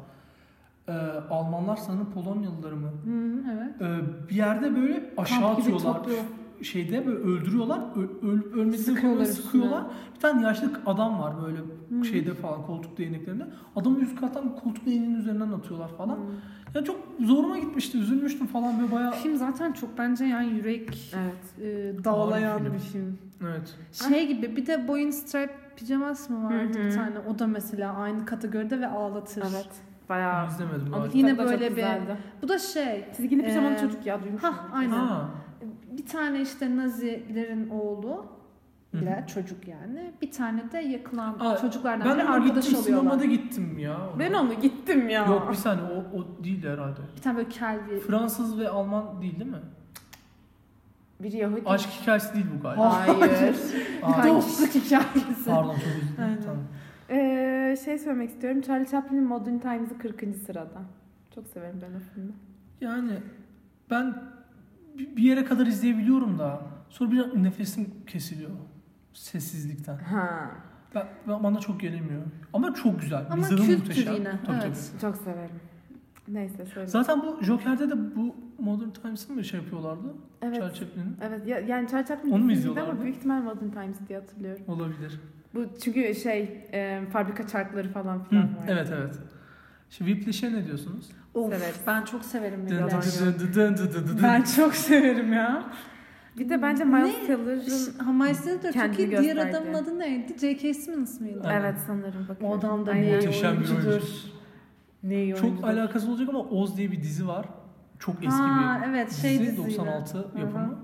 Ee, Almanlar sanırım Polonyalıları mı? Hı, evet. Ee, bir yerde böyle aşağı Kamp gibi atıyorlar. topluyor. Şeyde böyle öldürüyorlar. Ö- öl- ölmesini Sıkıyorlar sıkıyorlar. üstüne. sıkıyorlar. Bir tane yaşlı adam var böyle Hı. şeyde falan koltuk değneklerinde. Adamı üst kattan koltuk değneğinin üzerinden atıyorlar falan. Hmm. Hı. Ya çok zoruma gitmişti. Üzülmüştüm falan böyle bayağı. Film zaten çok bence yani yürek Evet. e, dağlayan Ağır bir bir film. film. Evet. Şey gibi bir de Boyun Stripe pijamas mı vardı Hı hı. bir tane? O da mesela aynı kategoride ve ağlatır. Evet. Bayağı. İzlemedim Ama galiba. Yine kitapta çok böyle bir- güzeldi. Bu da şey. Çizgili pijamalı Ee, çocuk ya duymuşum. Ha aynen. Ha. Bir tane işte Nazilerin oğlu Hı hı. bile çocuk yani. Bir tane de yakılan Aa, çocuklardan Ben biri ona arkadaş gittim oluyorlar. sinemada gittim ya. ona. Ben onu gittim ya. Yok bir saniye o, o değil herhalde. Bir tane böyle kel bir Fransız ve Alman değil değil mi? Bir Yahudi. Aşk hikayesi değil bu Ah, galiba. Hayır. Aa, Hayır. dostluk hikayesi. pardon çok özür dilerim. Aynen. Tamam. Ee, şey söylemek istiyorum. Charlie Chaplin'in Modern Times'ı 40. sırada. Çok severim ben o filmi. Yani ben bi- bir yere kadar izleyebiliyorum da sonra bir nefesim kesiliyor sessizlikten. Ha. Ben, ben- bana çok gelemiyor. Ama çok güzel. Ama Mizahı kültür muhteşem. yine, Tabii, evet. tabii. Çok severim. Neyse söyle. Zaten bu Joker'de de bu Modern Times'ın mı şey yapıyorlardı? evet. Charlie Chaplin'in. Evet ya, yani Charlie Chaplin Onu mu dizisiydi izliyorlardı? ama büyük ihtimal Modern Times diye hatırlıyorum. Olabilir. Bu çünkü şey e, fabrika çarkları falan Hı, filan var. evet evet. Şimdi Whiplash'e ne diyorsunuz? Of, Severiz. ben çok severim Dın Miller. dın dın dın dın dın dın. Ben çok severim ya. Bir de bence Ne? Miles Teller'ın Hamaisleri de çok iyi. Kendini Diğer gösterdi. adamın adı neydi? J.K. Simmons mıydı? Aynen. Evet sanırım bakıyorum. O adam da Aynen. ne iyi Muhteşem bir oyuncudur. oyuncu. Ne iyi Çok oyuncudur. alakası olacak ama Oz diye bir dizi var. Çok eski Ha, bir evet dizi. şey diziydi. 96 Hı hı. yapımı.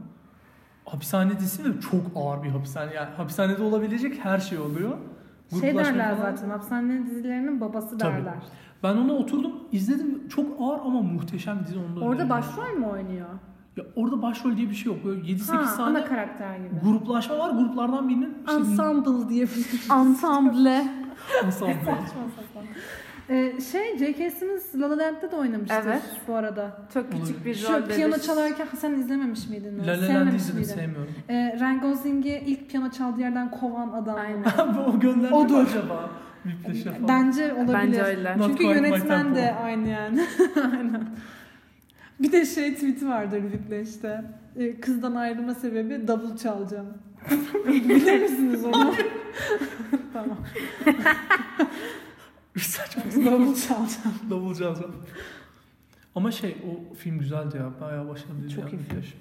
hapishanedesi ve çok ağır bir hapishane. Yani hapishanede olabilecek her şey oluyor. Şey Gruplaşma derler falan. zaten hapishane dizilerinin babası Tabii. derler. Ben ona oturdum izledim. Çok ağır ama muhteşem dizi onu da Orada öneririm. başrol mü oynuyor? Ya orada başrol diye bir şey yok. Böyle 7-8 Ha, saniye şey ana karakter gibi. gruplaşma var. Gruplardan birinin işte Ensemble diyebiliriz. Ensemble. ensemble. Ee, şey J.K. Simmons La La Land'de de oynamıştır Evet. bu arada. Çok Olabilir. küçük bir rol. Şu piyano belir- çalarken ha, sen izlememiş miydin? onu? La La Land'i Sevmemiş izledim miydin? sevmiyorum. Ee, Ryan Gosling'i ilk piyano çaldığı yerden kovan adam. Aynen. Bu o gönderdi mi Odur. acaba? Whiplash'e falan. Bence olabilir. Bence öyle. Not Çünkü quite my yönetmen de tempo. aynı yani. Aynen. Bir de şey tweet'i vardır Whiplash'te. Ee, Kızdan ayrılma sebebi davul çalacağım. Bilir misiniz onu? tamam. Saçma Davul çalacağım. davul çalacağım. Ama şey o film güzeldi ya. Bayağı başarılıydı. Çok ya, iyi film. Whiplash.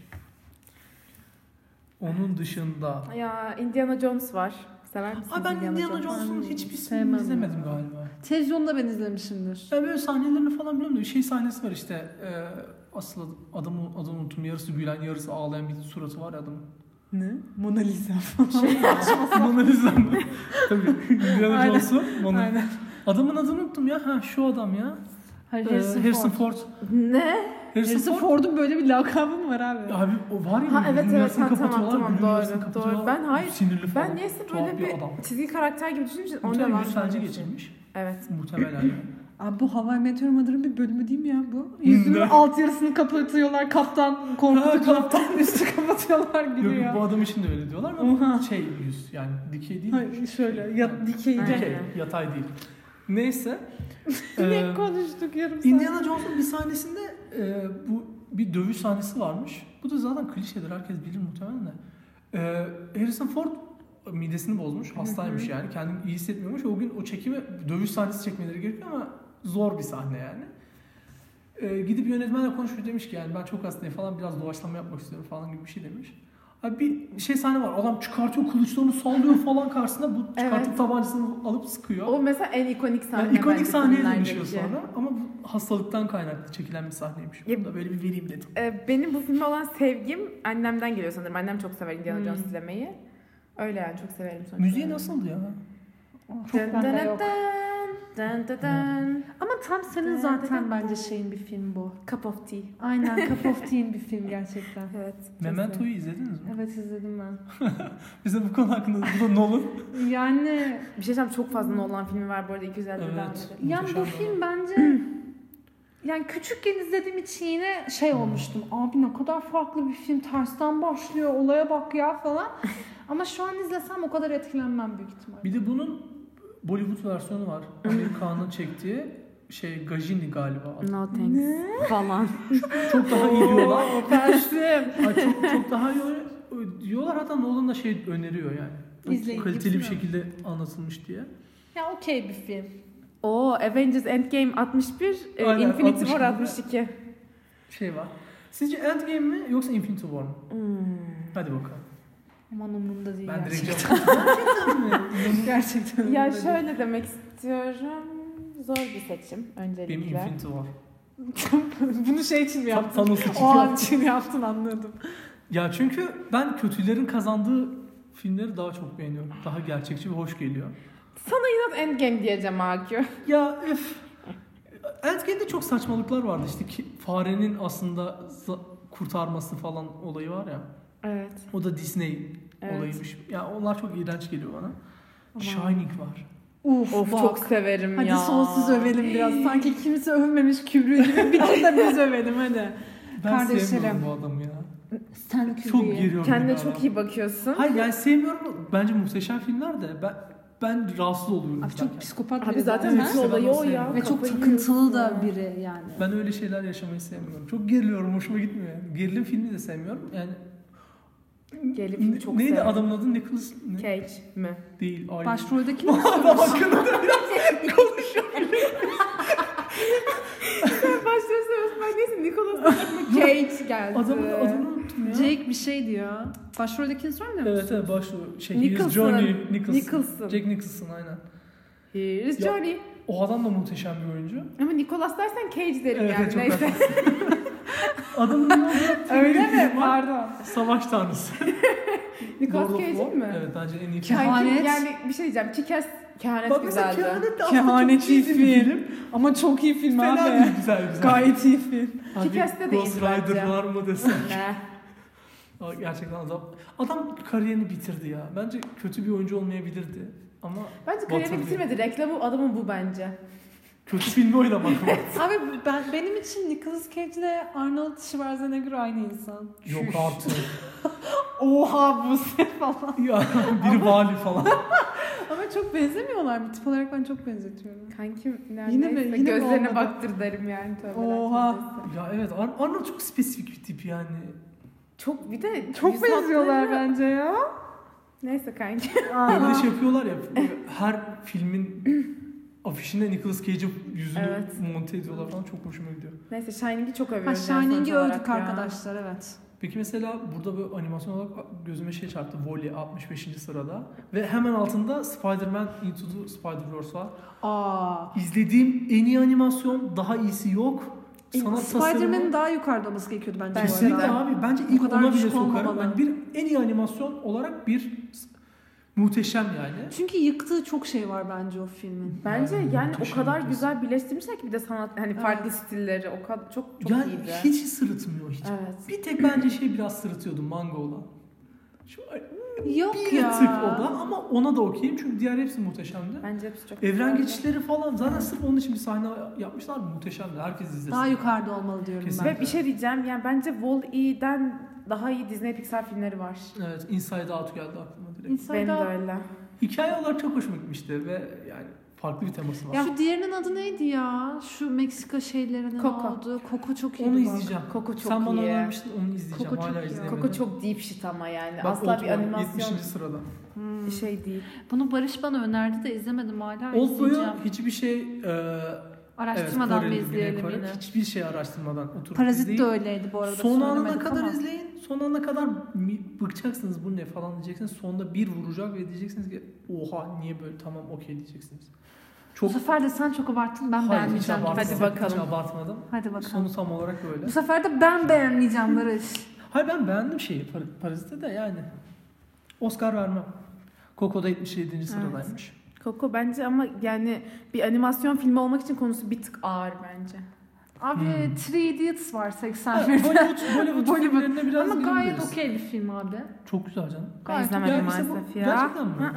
Onun dışında... Ya Indiana Jones var. Sever misiniz Ay ben Indiana Jones'un Ben hiçbir sevmem filmini izlemedim ya. galiba. Televizyonda ben izlemişimdir. Ben böyle sahnelerini falan biliyorum da bir şey sahnesi var işte. E, asıl ad- adamı, adamı unuttum. Yarısı gülen, yarısı ağlayan bir suratı var ya adamın. Şey, Ne? Mona Lisa falan. Mona Lisa mı? Tabii. Indiana Aynen. Jones'u. Mona- Aynen. Adamın adını unuttum ya. Ha şu adam ya. Ee, Harrison, Harrison Ford. Ford. Ne? Harrison, Harrison Ford. Ford'un böyle bir lakabı mı var abi? Abi o var ya. Ha, gülün evet, evet, yarısını ha, tamam, kapatıyorlar, tamam, gülün doğru, yarısını doğru. kapatıyorlar. Ben hayır, Sinirli falan. Ben niyeyse Tuhaf böyle bir bir, adam. çizgi karakter gibi düşünmüşüm. Onda Muhtemelen var. yükselci geçirmiş. Evet. Muhtemelen. yani. Abi bu Hawaii Meteor Mother'ın bir bölümü değil mi ya bu? Yüzünün alt yarısını kapatıyorlar. Kaptan Ha, korkutuyor. kaptan. Kaptan üstü kapatıyorlar Yok, gülüyor. bu adam için de öyle diyorlar Oha. ama şey yüz yani dikey değil. Hayır şöyle ya, dikeyce. Aynen. Dikey, yatay değil. Neyse. Ne Ee, konuştuk yarım saat. Indiana Jones'un bir sahnesinde e, bu bir dövüş sahnesi varmış. Bu da zaten klişedir herkes bilir muhtemelen de. E, Harrison Ford midesini bozmuş, hastaymış yani kendini iyi hissetmiyormuş. O gün o çekimi dövüş sahnesi çekmeleri gerekiyor ama zor bir sahne yani. E, gidip yönetmenle konuşmuş demiş ki yani ben çok hastayım falan biraz doğaçlama yapmak istiyorum falan gibi bir şey demiş. Abi bir şey sahne var. Adam çıkartıyor kılıçlarını sallıyor falan karşısında bu çıkartıp Evet. tabancasını alıp sıkıyor. O mesela en ikonik sahne. Yani ikonik bence sahneye filmlerdeki. dönüşüyor sonra ama bu hastalıktan kaynaklı çekilen bir sahneymiş. Ya- Bunu da böyle bir vereyim dedim. Ee, benim bu filme olan sevgim annemden geliyor sanırım. Annem çok sever Indiana Hmm. Jones izlemeyi. Öyle yani çok severim sonuçta. Müziği nasıldı ya? Çok bende yok. Hmm. Dın Ama tam senin zaten bence şeyin bir film bu. Cup of Tea. Aynen Cup of Tea'in bir film gerçekten. Evet. Memento'yu izlediniz mi? Evet izledim ben. Bize bu konu hakkında bu da Nolan. Yani Bir şey söyleyeceğim çok fazla Nolan filmi var bu arada 250 Evet. evet. yani Muhteşem bu bir film bence yani küçükken izlediğim için yine şey Hmm. olmuştum. Abi ne kadar farklı bir film. Tersten başlıyor. Olaya bak ya falan. Ama şu an izlesem o kadar etkilenmem büyük ihtimal. Bir de bunun Bollywood versiyonu var. Amir Khan'ın çektiği şey Gajini galiba. No falan. Çok daha iyi diyorlar. Tersim. Ay, çok, çok daha iyi öyle- diyorlar hatta Nolan da şey öneriyor yani. İzleyin, Kaliteli bir gitsin ama. şekilde anlatılmış diye. ya okey bir film. Oo Avengers Endgame 61, e, Aynen, Infinity 62. War 62. Şey var. Sizce Endgame mi yoksa Infinity War mı? Hmm. Hadi bakalım. Aman umurumda değil. Ben direkt gerçekten. cevap Gerçekten. Ya öyle değil. şöyle demek istiyorum. Zor bir seçim Benim öncelikle. Infinity War. Bunu şey için mi Tan- yaptın? Thanos için O an yaptım. için yaptın anladım. Ya çünkü ben kötülerin kazandığı filmleri daha çok beğeniyorum. Daha gerçekçi ve hoş geliyor. Sana inat Endgame diyeceğim AQ. Ya üf. Endgame'de çok saçmalıklar vardı işte ki farenin aslında za- kurtarması falan olayı var ya. Evet. O da Disney Evet. olayıymış. Ya onlar çok iğrenç geliyor bana. Aman. Shining var. Uf, Of bak. çok severim Hadi ya. sonsuz övelim biraz. Sanki kimse övmemiş Kübrü gibi. Bir tek de biz övelim hadi. Ben Kardeşlerim. sevmiyorum bu adamı ya. Sen Kübrü'yü. Çok giriyorum. Kendine ya. çok iyi bakıyorsun. Hayır yani sevmiyorum. Bence muhteşem filmler de ben ben rahatsız oluyorum. Abi izlerken. çok psikopat Abi biri zaten Evet, zaten. bütün ben olayı onu o ya. sevmiyorum. Ve çok Kafayı takıntılı yiyorsun da ya. biri yani. Ben öyle şeyler yaşamayı sevmiyorum. Çok geriliyorum, hoşuma gitmiyor. yani. Gerilim filmi de sevmiyorum. Yani Gerilim filmi çok Neydi severim. adamın adı Nicholas ne? Cage mi? değil. Aynı. Başrolde kim var? Adam hakkında da Başlıyorsun ben neyse Nicolas Cage geldi. adamın adını unuttum ya. Jake bir şey diyor. Başroldekini sormuyor musun? Evet evet başrol. Şey, Nicholson. Nicholson. Johnny Nicholson. Nicholson. Jack Nicholson aynen. Here's Ya- Johnny. O adam da muhteşem bir oyuncu. Ama Nicolas dersen Cage derim Evet, yani evet, çok neyse. Adamın ne oldu? Öyle mi? Temel var. Pardon. Savaş tanrısı. Nicolas Lord of War. Cage'in mi? Evet bence en iyi film. Kehanet. Kanki, Yani bir şey diyeceğim. Kikes kehanet Bak mesela güzeldi. Kehanet de aslında çok Kehaneti iyi bir film. film. Ama çok iyi film Fena abi. değil güzel güzel. Gayet iyi film. Abi, Kick-Ass'te de Ghost iyiydi bence. Rider var mı desem. Ne? Aa, Gerçekten adam, adam kariyerini bitirdi ya. Bence kötü bir oyuncu olmayabilirdi. Ama Bence kariyeri Waterloo. bitirmedi. Reklamı adamın bu bence. kötü filmi oynamak mı? Abi ben benim için Nicolas Cage ile Arnold Schwarzenegger aynı insan. Yok artık. Oha bu sefer falan. ya bir vali falan. Ama çok benzemiyorlar mı? Tip olarak ben çok benzetiyorum. Kankim Yine neredeyse mi- yine yine mi gözlerine olmadı? baktır derim yani. Tövbe Oha. neredeyse. Ya evet Ar- Arnold çok spesifik bir tip yani. Çok bir de yüz Çok benziyorlar hatları- bence ya. Neyse kanki. Böyle şey yapıyorlar ya her filmin afişine Nicolas Cage'in yüzünü Evet. monte ediyorlar falan çok hoşuma gidiyor. Neyse Shining'i çok övüyorum. Ha ben sonuç Shining'i olarak övdük ya. arkadaşlar evet. Peki mesela burada böyle animasyon olarak gözüme şey çarptı. Wall-E 65. sırada ve hemen altında Spider-Man Into the Spider-Verse var. Aa. İzlediğim en iyi animasyon, daha iyisi yok. E, Sanat Spider-Man'in tasarımı. daha yukarıda olması gerekiyordu bence. bu Kesinlikle arada. abi. Bence Bu ilk kadar ona bile düşük sokarım. olmamalı. Yani bir en iyi animasyon olarak bir s- muhteşem yani. Çünkü yıktığı çok şey var bence o filmin. Bence Yani yani o muhteşem kadar ötesi. güzel birleştirmişler ki bir de sanat hani Evet. farklı stilleri o kadar çok çok yani iyiydi. hiç sırıtmıyor hiç. Evet. Bir tek bence şey biraz sırıtıyordu manga olan. Şu Yok bir ya. tık o da ama ona da okeyim çünkü diğer hepsi muhteşemdi. Bence hepsi çok Evren güzeldi. geçişleri falan zaten sırf onun için bir sahne yapmışlar muhteşemdi. Herkes izlesin. Daha yukarıda olmalı diyorum Kesinlikle. Ve bir şey diyeceğim yani bence Wall-E'den daha iyi Disney Pixar filmleri var. Evet Inside Out geldi aklıma ben. direkt. İnsan Benim de da... öyle. Hikaye olarak çok hoşuma gitmişti ve yani farklı bir teması var. Ya şu diğerinin adı neydi ya? Şu Meksika şeylerinin Coco. oldu. Koku çok iyiydi. onu bak. izleyeceğim. Koku çok Sen bana iyi. önermiştin onu izleyeceğim. Koku Hala çok iyi. izleyemedim. Koku çok deep shit ama yani. Bak, Asla bir Oldboy, animasyon 70. sırada. Hmm. şey değil. Bunu Barış bana önerdi de izlemedim hala. izleyeceğim. Oldboy'u hiçbir şey e, Araştırmadan evet, mı Koreli, Güney izleyelim Kore. yine? Hiçbir şey araştırmadan oturup Parazit de izleyin. öyleydi bu arada. Son anına söylemedik kadar ama. izleyin. Son anına kadar mi- bıkacaksınız bu ne falan diyeceksiniz. Sonda bir vuracak ve diyeceksiniz ki oha niye böyle tamam okey diyeceksiniz. Bu Çok sefer de sen çok abarttın. Ben Hayır, hiç beğenmeyeceğim. abartmadım. Hadi bakalım. Hiç abartmadım. Hadi bakalım. Sonu tam olarak öyle. Bu sefer de ben beğenmeyeceğim Barış. Hayır ben beğendim şeyi Par- Parazit'te de yani. Oscar vermem. Coco'da 77. sıradaymış. Coco bence ama yani bir animasyon filmi olmak için konusu bir tık ağır bence. Abi Hmm. Three Idiots var 81'de. Evet. Hollywood, Hollywood, Hollywood. filmlerine biraz Ama gayet girebiliriz. okey bir film abi. Çok güzel canım. Ben Gayet izlemedim Ya işte bu- maalesef ya. Gerçekten mi? Hı hı.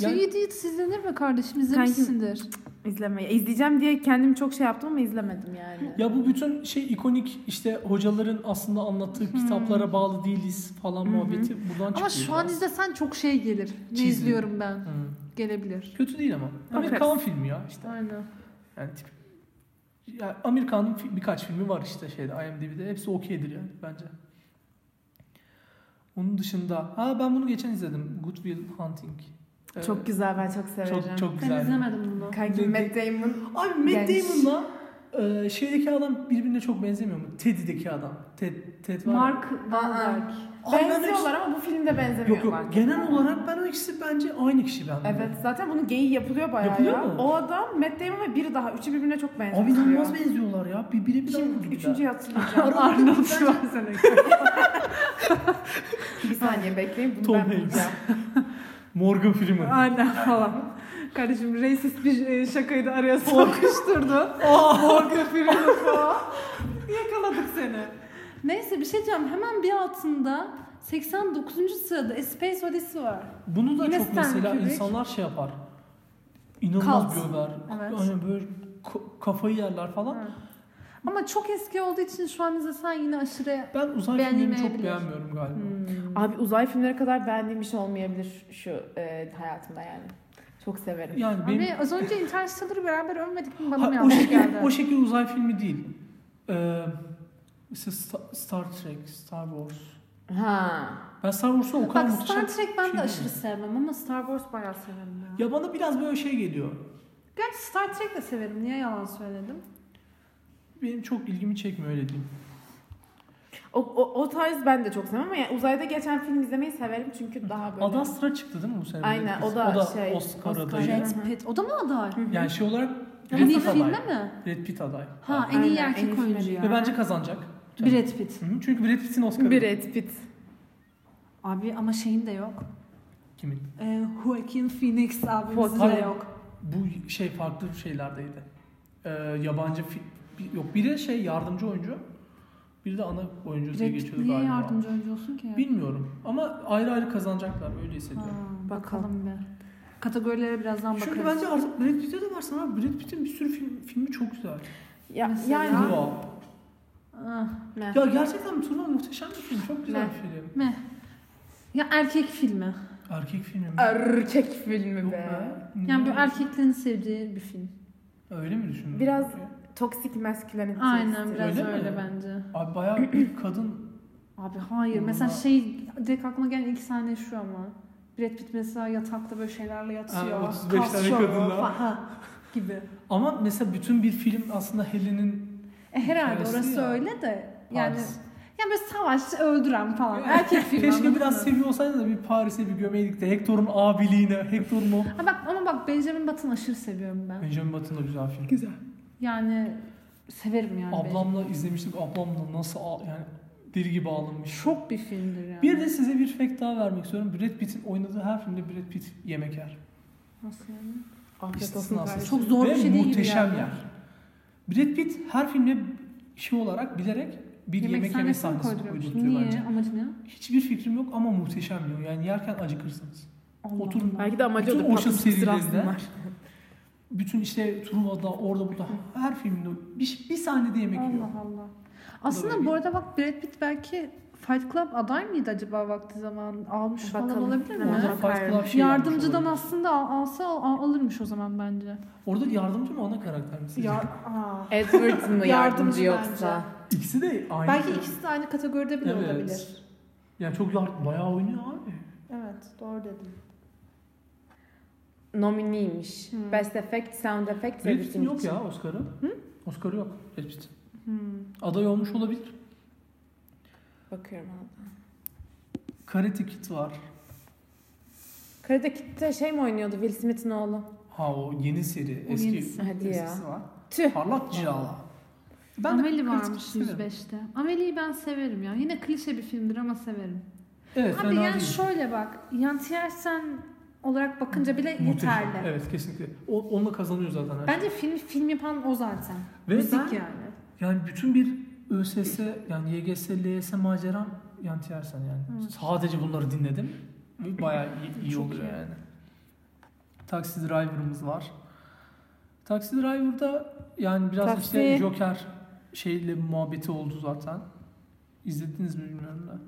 Yani- Three Idiots izlenir mi kardeşim? İzlemişsindir. İzlemeyi. İzleyeceğim diye kendim çok şey yaptım ama izlemedim yani. Ya bu bütün şey ikonik işte hocaların aslında anlattığı kitaplara bağlı değiliz falan Hı hı. muhabbeti buradan çıkıyor. Hmm. Ama şu an biraz. izlesen çok şey gelir. Ne Çizim. izliyorum ben? Hı. Gelebilir. Kötü değil ama. Bakarız. Amerikan filmi ya işte. Aynen. Yani tip. Ya Amerikan'ın fi- birkaç filmi var işte şeyde IMDb'de. Hepsi okeydir yani bence. Onun dışında ha ben bunu geçen izledim. Good Will Hunting. Ee, Çok güzel ben çok severim. çok çok Ben güzel. izlemedim bunu. Kanki Matt Damon. Abi Matt Genç. Damon'la e, şeydeki adam birbirine çok benzemiyor mu? Teddy'deki adam. Ted, Ted var ya. Mark Wahlberg. Abi ben de- Benziyorlar ama bu filmde benzemiyor Yok yok. bence. Genel olarak ben o ikisi bence aynı kişi bende. Evet zaten bunun geyiği yapılıyor bayağı Yapılıyor ya. mu? O adam Matt Damon ve biri daha. Üçü birbirine çok benziyor. Abi inanılmaz benziyorlar ya. Birbirine bir Kim? daha. Üçüncüyü hatırlayacağım. Arnold Schwarzenegger. bir saniye bekleyin. Bunu Tom ben Hanks. bulacağım. Morgan Freeman. Aynen falan. Kardeşim racist bir e, şakayı da araya sokuşturdu. Morgan Freeman falan. Yakaladık seni. Neyse bir şey diyeceğim. Hemen bir altında 89. sırada A Space Odyssey var. Bunu da Yine çok Stanley mesela Kubrick. insanlar şey yapar. İnanılmaz Cult. diyorlar. Evet. Hani böyle ko- kafayı yerler falan. Evet. Ama çok eski olduğu için şu an izlesen yine aşırı... Ben uzay filmlerini çok Beğenilmeyebilir. beğenmiyorum galiba. Abi uzay filmleri kadar beğendiğim bir şey olmayabilir şu e, hayatımda yani. Çok severim. Yani benim Abi az önce Interstellar'ı beraber övmedik mi? Bana Ha, mı o, yanlış şekil, geldi? o şekil uzay filmi değil. Ee, mesela Sta- Star Trek, Star Wars. Ha. Ben Star Wars'u o kadar Bak muhteşem- Star Trek ben şey de değil aşırı mi? sevmem ama Star Wars bayağı severim ya. Ya bana biraz böyle şey geliyor. Gerçi Star Trek de severim. Niye yalan söyledim? Benim çok ilgimi çekmiyor öyle diyeyim. O, o, o tarz ben de çok sevmem ama yani uzayda geçen film izlemeyi severim çünkü daha böyle. Adam sıra çıktı değil mi bu sene? Aynen, Netflix? o da o da şey, Oscar Oscar. adayı. Evet. Brad Pitt. O da mı aday? Yani şey olarak En iyi Pitt aday. filmde mi? Red Pitt aday. Hani Ha en Aynen, iyi en iyi erkek filmde oyuncu değil. ya. Ve bence kazanacak. Tabii. Brad Pitt. Hı hı. Çünkü Brad Pitt'in Oscar'ı. Brad Pitt. Abi ama şeyin de yok. Kimin? Ee, Joaquin Phoenix abimizin de Joaquin. yok. Bu şey farklı şeylerdeydi. Ee, yabancı fi- bir- yok biri şey yardımcı oyuncu. Biri de ana oyuncu diye Brad Pitt geçiyordu niye galiba. yardımcı oyuncu olsun ki? Bilmiyorum ama ayrı ayrı kazanacaklar öyle Ha, hissediyorum. bakalım bir. Kategorilere birazdan bakarız. Çünkü bence artık Brad Pitt'e de varsan abi Brad Pitt'in bir sürü film, filmi çok güzel. Ya, Mesela- yani Wow. Ah, Meh. Ya gerçekten turnuva muhteşem bir film. Çok güzel bir film. meh. Ya erkek filmi. Erkek filmi mi? erkek filmi Yok be. be. Yani er- Niye? bir erkeklerin sevdiği bir film. Öyle mi düşündün? Biraz- Toksik maskülenite. Aynen biraz Öyle öyle, mi? bence. Abi bayağı bir kadın Abi hayır. Vallahi- Mesela şey direkt aklıma gelen iki sahne şu ama. Brad Pitt mesela yatakta böyle şeylerle yatıyor. Ha, 35 kas tane şovu kadınla. falan gibi. ama mesela bütün bir film aslında Helen'in E, herhalde Hikayesi orası ya. öyle de. Yani Paris. yani böyle savaş öldüren falan. Ya, Erkek filmi. Keşke anladın biraz mı? seviyor olsaydı da bir Paris'e bir gömeydik de Hector'un abiliğine, Hector'un o... Ha bak ama bak Benjamin Button'ı aşırı seviyorum ben. Benjamin Button da güzel film. Güzel. Yani severim yani. Benjamin. Ablamla izlemiştik. Ablamla nasıl ağ- yani deli gibi ağlamış. Çok bir filmdir yani. Bir de size bir fact daha vermek istiyorum. Brad Pitt'in oynadığı her filmde Brad Pitt yemek yer. Nasıl yani? Afiyet olsun İstisnasız. kardeşim. Çok zor bir Ve şey değil gibi muhteşem yani. yer. Brad Pitt her filmde şey olarak bilerek bir yemek, yeme sahnesi koyduruyormuş. koydurtuyor Niye? bence. Amacı ne? Hiçbir fikrim yok ama muhteşem diyor. Yani yerken acıkırsınız. Allah Oturun. Allah. Belki de amacı Bütün odur. Ocean patates serilerinde- kızdırsınlar. Bütün işte Truva'da, orada burada her filmde bir, bir sahnede yemek yiyor. Allah Allah. Aslında öyle. bu arada bak Brad Pitt belki Fight Club aday mıydı acaba vakti zaman almış falan Bakalım. olabilir mi? Orada Evet. Fight Club şey Yardımcıdan yapmış olabilir. aslında al- alsa al- alırmış o zaman bence. Orada yardımcı mı ana karakter mi sizce? aa. Ah. Edward mı yardımcı Yardımcı yoksa? İkisi de aynı. Belki ikisi de aynı kategoride bile Evet. olabilir. Yani çok yard bayağı oynuyor abi. Evet doğru dedim. Nominiymiş. Hmm. Best Effect, Sound Effect, Brad Pitt'in Editing yok için. ya Oscar'ı. Oscar'ı yok Brad Pitt'in. Hmm. Aday olmuş olabilir. Bakıyorum abi. Karate Kid var. Karate Kid'de şey mi oynuyordu Will Smith'in oğlu? Ha o yeni seri. O eski yenisi. Hadi ya. eskisi var. Tüh. Parlak Cilala. Ben de Amelie Karate varmış Kid'i severim. 105'te. Amelie'yi ben severim ya. Yine klişe bir filmdir ama severim. Evet Abi fena yani değil. şöyle bak. Yantiyersen olarak bakınca bile Muhteşem. yeterli. Evet kesinlikle. O, onunla kazanıyor zaten. her şey. Bence film film yapan o zaten. Ve Müzik ben- yani. Yani bütün bir ÖSS yani YGS, LYS maceram yan tiyersen yani. Evet. Sadece bunları dinledim. Ve bayağı iyi, iyi Çok oluyor iyi. yani. Taxi Driver'ımız var. Taxi Driver'da yani biraz Taksi. işte Joker şeyle muhabbeti oldu zaten. İzlediniz mi bilmiyorum da.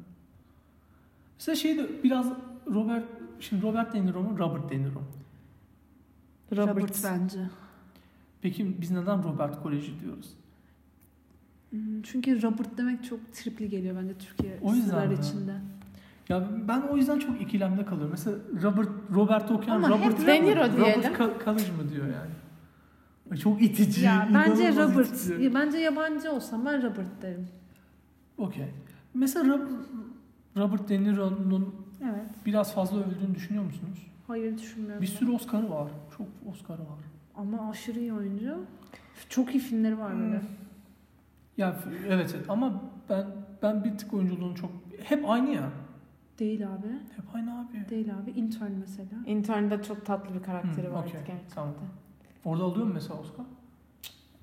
Mesela şey de biraz Robert şimdi Robert De Niro mu Robert De Niro mu? Robert. bence. Peki biz neden Robert Koleji diyoruz? Hmm, Çünkü Robert demek çok tripli geliyor bence Türkiye O yüzden sizler mi? içinde. Ya ben o yüzden çok ikilemde kalıyorum. Mesela Robert Robert okuyan Ama hep Robert De Niro diyelim. Robert Ka- Kalış mı diyor yani. Ay Çok itici. Ya bence inanılmaz Robert. itici. Ya bence yabancı olsam ben Robert derim. Okey. Mesela Rob- Robert De Niro'nun Evet. biraz fazla övüldüğünü düşünüyor musunuz? Hayır düşünmüyorum. Bir ben. sürü Oscar'ı var. Çok Oscar'ı var. Ama aşırı iyi oyuncu. Çok iyi filmleri var böyle. Ya f- evet evet. ama ben ben bir tık oyunculuğunu çok hep aynı ya. Değil abi. Hep aynı abi. Değil abi. Intern mesela. İnternette çok tatlı bir karakteri Hı, vardı okey, gerçekten. tamam. Orada alıyor mu mesela Oscar?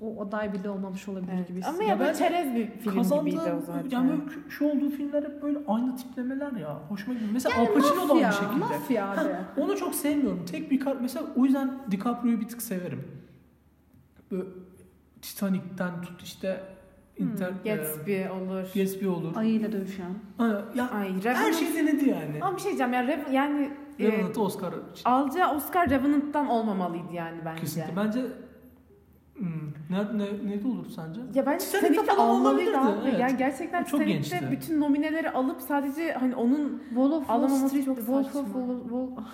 O aday bile olmamış olabilir Evet. gibi. Ama Ya ya, ben- böyle çerez bir film Kazandığı gibiydi o zaten. yani böyle kü- şu olduğu filmler hep böyle aynı tiplemeler ya. Hoşuma gidiyor. Mesela Al Pacino da Mafya, aynı şekilde. mafya abi. Onu çok sevmiyorum. Tek bir kar mesela o yüzden DiCaprio'yu bir tık severim. Böyle Titanic'ten tut işte Inter e, Gatsby olur. Gatsby olur. Ayıyla dövüşen. Ha, ya Ay her Revenant. şey denedi yani. Ama bir şey diyeceğim ya Reven- yani e, Revenant'ı Oscar için. alacağı Oscar Revenant'tan olmamalıydı yani bence. Kesinlikle. Bence hmm, ne, ne, ne de olur sence? Ya bence Titanic'te Titanic'te falan almalıydı olabilirdi, abi. evet. Yani gerçekten O çok Titanic'te gençti. bütün nomineleri alıp sadece hani onun Wall of Wall Alamaması Street. çok Wolf of saçma. Wall, Wall,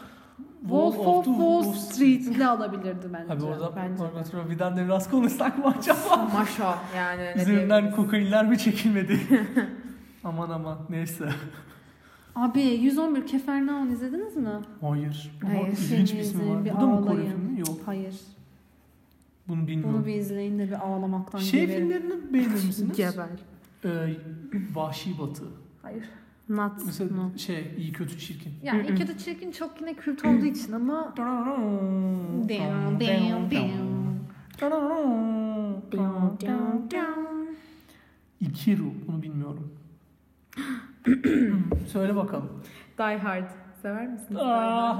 Wolf Wolf of the Wall Street'le alabilirdi bence. Abi orada Bence. Margot Robbie'den de biraz konuşsak mı acaba? maşa yani. hani, ne Üzerinden diyebiliriz? kokainler mi çekilmedi? aman aman neyse. Abi 111 Kefernaun izlediniz mi? Hayır. Ama Hayır, ilginç bir filmi ismi izleyin, var. bir Bu da mı Kore ağlayın. filmi? Yok. Hayır. Bunu bilmiyorum. Bunu bir izleyin de bir ağlamaktan şey geberin. filmlerini beğenir misiniz? Geber. Ee, vahşi Batı. Hayır. Not. Mesela not. şey iyi kötü çirkin. Yani Mm-mm. iki de çirkin çok yine kült olduğu için ama Damn, damn, damn. İkiru bunu bilmiyorum. Söyle bakalım. Die Hard. Sever misiniz? Aa,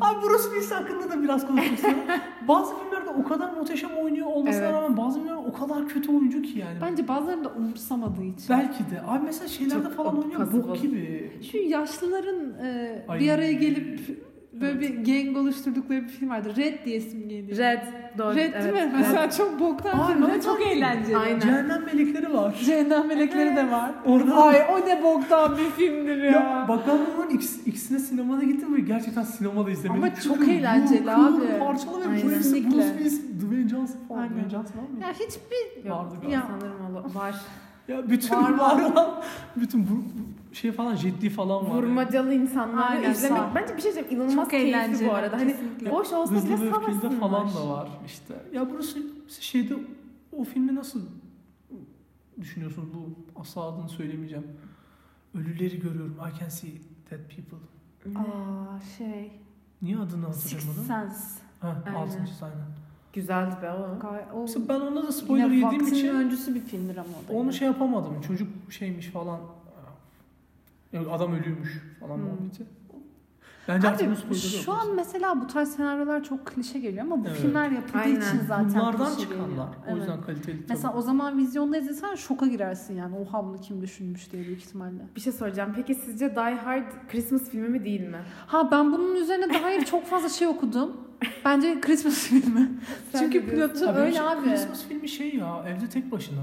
abi Bruce Willis hakkında da biraz konuşmak istiyorum. Bazı filmlerde o kadar muhteşem oynuyor olmasına Evet. rağmen bazı filmler o kadar kötü oyuncu ki yani. bence bazıları da umursamadığı için. Belki de. Abi mesela şeylerde Çok falan oynuyor pasif bok oldu. gibi. Şu yaşlıların e, Ay. bir araya gelip böyle bir gang oluşturdukları bir film vardı. Red diye isim geliyor. Red. Doğru. Red değil mi? evet. Mesela çok boktan Ay, film ama Red çok değil. eğlenceli. Aynen. Cehennem melekleri var. Cehennem melekleri de var. Orada Ay o ne boktan bir filmdir ya. Ya bakanlığın ikis, ikisine sinemada gittim ve gerçekten sinemada izlemedim. Ama çok Çünkü eğlenceli bu abi. Parçalı ve Aynen. bu hepsi Kesinlikle. Bruce Willis, Dwayne Johnson falan. Aynen. Dwayne Johnson var mı? Ya hiçbir Vardı Yok, galiba. sanırım ola- var. Ya bütün Var, var, var. olan, bütün bu, bu şey falan jetli falan var. Vurmacalı insanlar Aynen, izlemek. sağ. Bence bir şey söyleyeyim. inanılmaz Çok keyifli eğlenceli, bu arada. Hani kesinlikle. boş olsa Hızlı bile ve öfkeli havasın de falan var. da var işte. Ya burası şeyde o filmi nasıl düşünüyorsunuz? Bu asla adını söylemeyeceğim. Ölüleri görüyorum. I can see dead people. Aa şey. Niye adını Sixth hatırlamadım? Sense. Ha, Aynen. altıncı sahne. Güzeldi be o. Gay- O, Mesela ben ona da yine spoiler yediğim Fox'ın için öncüsü bir filmdir ama o da. Onu yine. şey yapamadım. Çocuk şeymiş falan. Yani adam ölüymüş falan Hmm. muhabbeti. Bence artık Abi, bunu spoiler şu an mesela bu tarz senaryolar çok klişe geliyor ama bu Evet. filmler yapıldığı Aynen. için zaten Bunlardan klişe geliyor. çıkanlar. O Evet. yüzden kaliteli tabii. Mesela o zaman vizyonda izlesen şoka girersin yani. Oha bunu kim düşünmüş diye büyük ihtimalle. Bir şey soracağım. Peki sizce Die Hard Christmas filmi mi değil mi? Ha ben bunun üzerine daha çok fazla şey okudum. Bence Christmas filmi. Sen Çünkü ne diyorsun? pilotu Abi öyle şey- abi. Christmas filmi şey ya evde tek başına.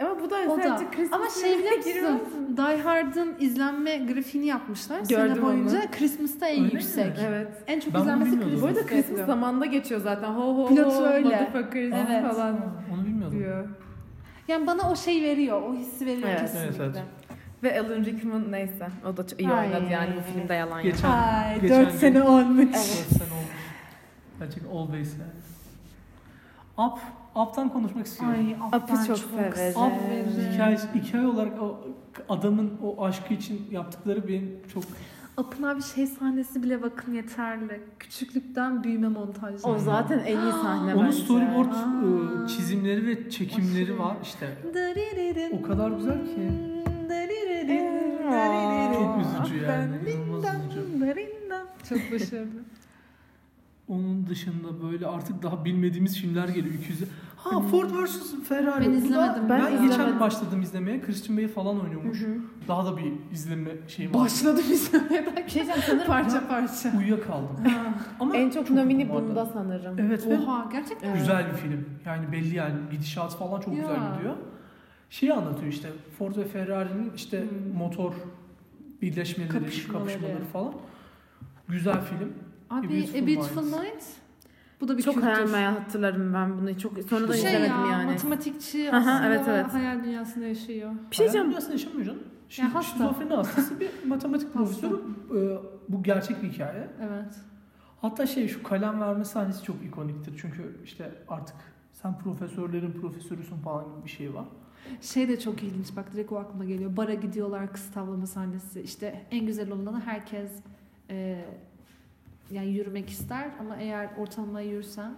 Ama bu da O da. sadece Christmas Ama şey biliyor filmine girmez. musun? Die Hard'ın izlenme grafiğini yapmışlar. Gördüm Sene boyunca onu. Christmas'ta en Öyle yüksek. mi? Evet. En çok Ben bunu izlenmesi bilmiyordum. Christmas. Bu arada Christmas zamanında geçiyor zaten. Ho ho ho. Pilotu öyle. Motherfuckers Evet. falan Onu bilmiyordum. diyor. Yani bana o şey veriyor. O hissi veriyor Evet. Evet, kesinlikle. evet. Ve Alan Rickman neyse. O da çok iyi Ay. oynadı yani bu filmde yalan yok. Geçen, Ay geçen 4 gün- sene olmuş. Dört sene olmuş. Gerçekten always yani. Up, Up'tan konuşmak istiyorum. Ay ah, Apı ben çok severim. Up severim. hikaye, hikaye olarak o adamın o aşkı için yaptıkları benim çok Apın abi şey sahnesi bile bakın yeterli. Küçüklükten büyüme montajı. O zaten en iyi sahne Onun bence. storyboard Aa. e, çizimleri ve çekimleri Aşırı. var işte. Dariririn, O kadar güzel ki. dariririn, Aa. dariririn. Ah, Çok üzücü yani. Dariririn, inanılmaz üzücü. dariririn. Çok başarılı. Onun dışında böyle artık daha bilmediğimiz filmler geliyor. 200 Ha Ford vs Ferrari. Ben Bu da- izlemedim, Ben, ben geçen izlemedim. başladım izlemeye. Christian Bey falan Hı oynuyormuş. hı. Daha da bir izleme şeyim var. Başladım izlemeye ben. Bir şey diyeceğim sanırım. Parça parça. Uyuyakaldım. Ama en çok, çok nomini uyudum bunda orada. sanırım. Evet ve Oha gerçekten. Evet. Güzel bir film. Yani belli yani gidişat falan çok Ya. güzel gidiyor. Şeyi anlatıyor işte Ford ve Ferrari'nin işte Hmm. motor birleşmeleri, Kapışmaları. kapışmaları, falan. Güzel film. Abi A A Beautiful, Beautiful Mind. Mind. Bu da bir Çok kültür. hayal meyal hatırlarım ben bunu. Çok sonradan Şey izlemedim ya, yani. matematikçi Aha, aslında evet, evet. hayal dünyasında yaşıyor. Bir şey diyeceğim. Hayal yaşamıyor canım. Şimdi Ya hasta. şizofreni hastası bir matematik Hasta. profesörü. Ee, bu gerçek bir hikaye. Evet. Hatta şey şu kalem verme sahnesi çok ikoniktir. Çünkü işte artık sen profesörlerin profesörüsün falan gibi bir şey var. Şey de çok ilginç bak direkt o aklıma geliyor. Bara gidiyorlar kız tavlama sahnesi. İşte en güzel olanı herkes e, yani yürümek ister ama eğer ortalamaya yürürsen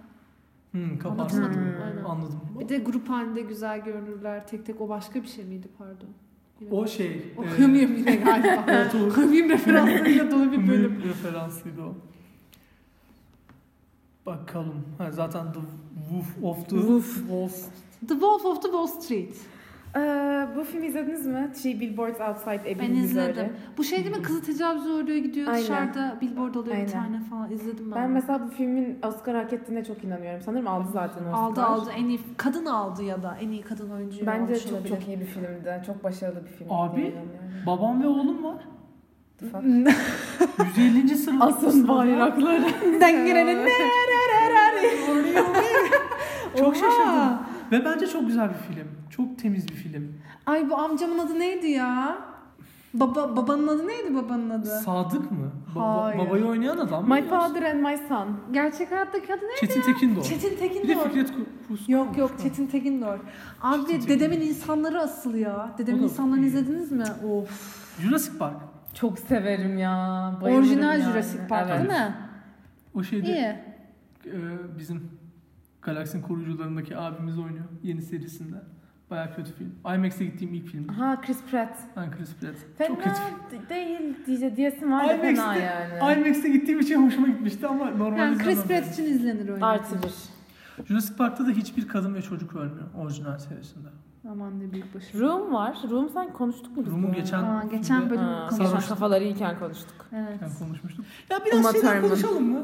Hmm, kaparsın. anlatamadım. Hmm. Aynen. Anladım. Bir de grup halinde güzel görünürler. Tek tek o başka bir şey miydi pardon? Yine- O şey. o e, Hımyım yine galiba. evet, o- Hımyım referanslarıyla dolu bir bölüm. Mühim referansıydı o. Bakalım. Ha, zaten The Wolf of the Wolf. Wolf. The Wolf of the Wall Street. Ee, bu filmi izlediniz mi? Three Billboards Outside Ebbing, Ben Missouri. izledim. Bu şey değil mi? Kızı tecavüze uğruyor gidiyor Aynen. dışarıda billboard oluyor Aynen. bir tane falan. İzledim ben. Ben mesela bu filmin Oscar hak ettiğine çok inanıyorum. Sanırım aldı zaten Oscar. aldı aldı Şey en iyi kadın aldı ya da en iyi kadın oyuncu. Bence çok çok iyi bir filmdi. Çok başarılı bir filmdi. Abi. diye inanıyorum. Babam ve oğlum var. The fuck? 150. sırada. Asın bayrakları. Dengirenin Çok şaşırdım. Ve bence çok güzel bir film. Çok temiz bir film. Ay bu amcamın adı neydi ya? Baba babanın adı neydi babanın adı? Sadık mı? Ba- Hayır. babayı oynayan adam. My father and my son. Gerçek hayattaki adı ne? Çetin Tekindor. Çetin Bir de Tekindor. Fikret Ku- Kuskun. Yok yok olmuş. Çetin Tekindor. Abi Çetin dedemin insanları asıl ya. Dedemin O da- insanlarını izlediniz mi? Of. Jurassic Park. Çok severim ya. bayılırım Orijinal yani. Jurassic Park Evet. değil mi? O şeyde İyi. e, bizim Galaksinin koruyucularındaki abimiz oynuyor yeni serisinde. Baya kötü film. IMAX'e gittiğim ilk film. Ha Chris Pratt. Ben Chris Pratt. Çok kötü. Fena d- değil diye diyesim var da fena IMAX'te yani. IMAX'e gittiğim için hoşuma gitmişti ama normal Yani Chris izlemem. Pratt için izlenir oyun. Artı bir. Jurassic Park'ta da hiçbir kadın ve çocuk ölmüyor orijinal serisinde. Aman ne büyük başarı. Room var. Room sen konuştuk mu biz? Room'u bunu? geçen Aa, geçen filmde- bölüm Ha, konuştuk. sarhoş. geçen kafaları iyiken konuştuk. Evet. Yani konuşmuştuk. Ya biraz Uma şeyden Thurman. konuşalım mı?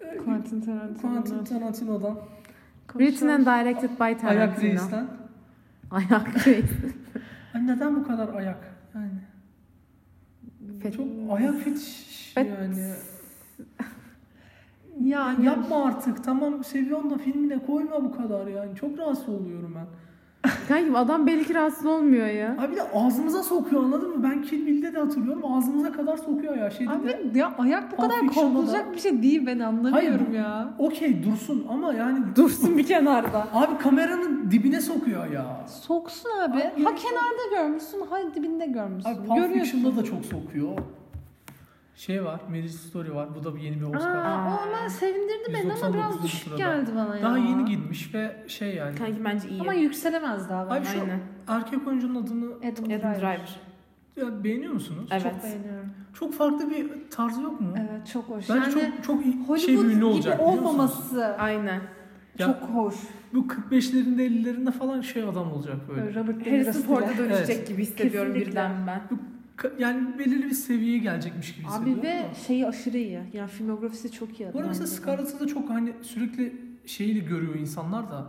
Ee, Quentin Tarantino'nun. Quentin Tarantino'dan. Written and directed by Ayak Tarantino. reisten. Ayak reis. Ay neden bu kadar ayak? Yani Fet- çok ayak fetiş fet- yani. Ya Yani- yapma artık. Tamam seviyorsun da filmine koyma bu kadar yani. Çok rahatsız oluyorum ben. Kankim adam belli ki rahatsız olmuyor ya. Abi bir de ağzımıza sokuyor anladın mı? Ben Kill Bill'de de hatırlıyorum. Ağzımıza kadar sokuyor ya Şey şeyde de. Abi ya ayak bu Pulp kadar Fiction'da korkulacak bir şey değil ben anlamıyorum Hayır, bu- ya. Okey dursun ama yani Dursun bir kenarda. abi kameranın dibine sokuyor ya. Soksun abi. Abi, ha yani- kenarda görmüşsün ha dibinde görmüşsün. Abi Pulp Görüyorsun. Fiction'da da çok sokuyor. Şey var, Marriage Story var. Bu da bir yeni bir Oscar. Aa, o hemen sevindirdi beni ama 199. biraz düşük sırada. geldi bana ya. Daha yeni gitmiş ve şey yani. Kanki bence iyi. Ama yükselemez daha ben. Abi şu Aynen. erkek oyuncunun adını Adam, Adam Driver. Driver. ya, beğeniyor musunuz? Evet. Çok beğeniyorum. Çok farklı bir tarzı yok mu? Er- Evet çok hoş. Bence yani çok çok iyi- Hollywood şey bir ünlü gibi olacak. biliyor musunuz? olmaması Aynen. Ya- çok hoş. Bu 45'lerinde 50'lerinde falan şey adam olacak böyle. Robert De Harrison Niro'su bile. Ford'a dönüşecek gibi hissediyorum Kesinlikle. birden ben. Ka- Yani belirli bir seviyeye gelecekmiş gibi Abi hissediyorum. ve ama. şeyi aşırı iyi. Yani filmografisi çok iyi. Bu arada mesela bence de. Scarlett'ı da çok hani sürekli şeyi de görüyor insanlar da.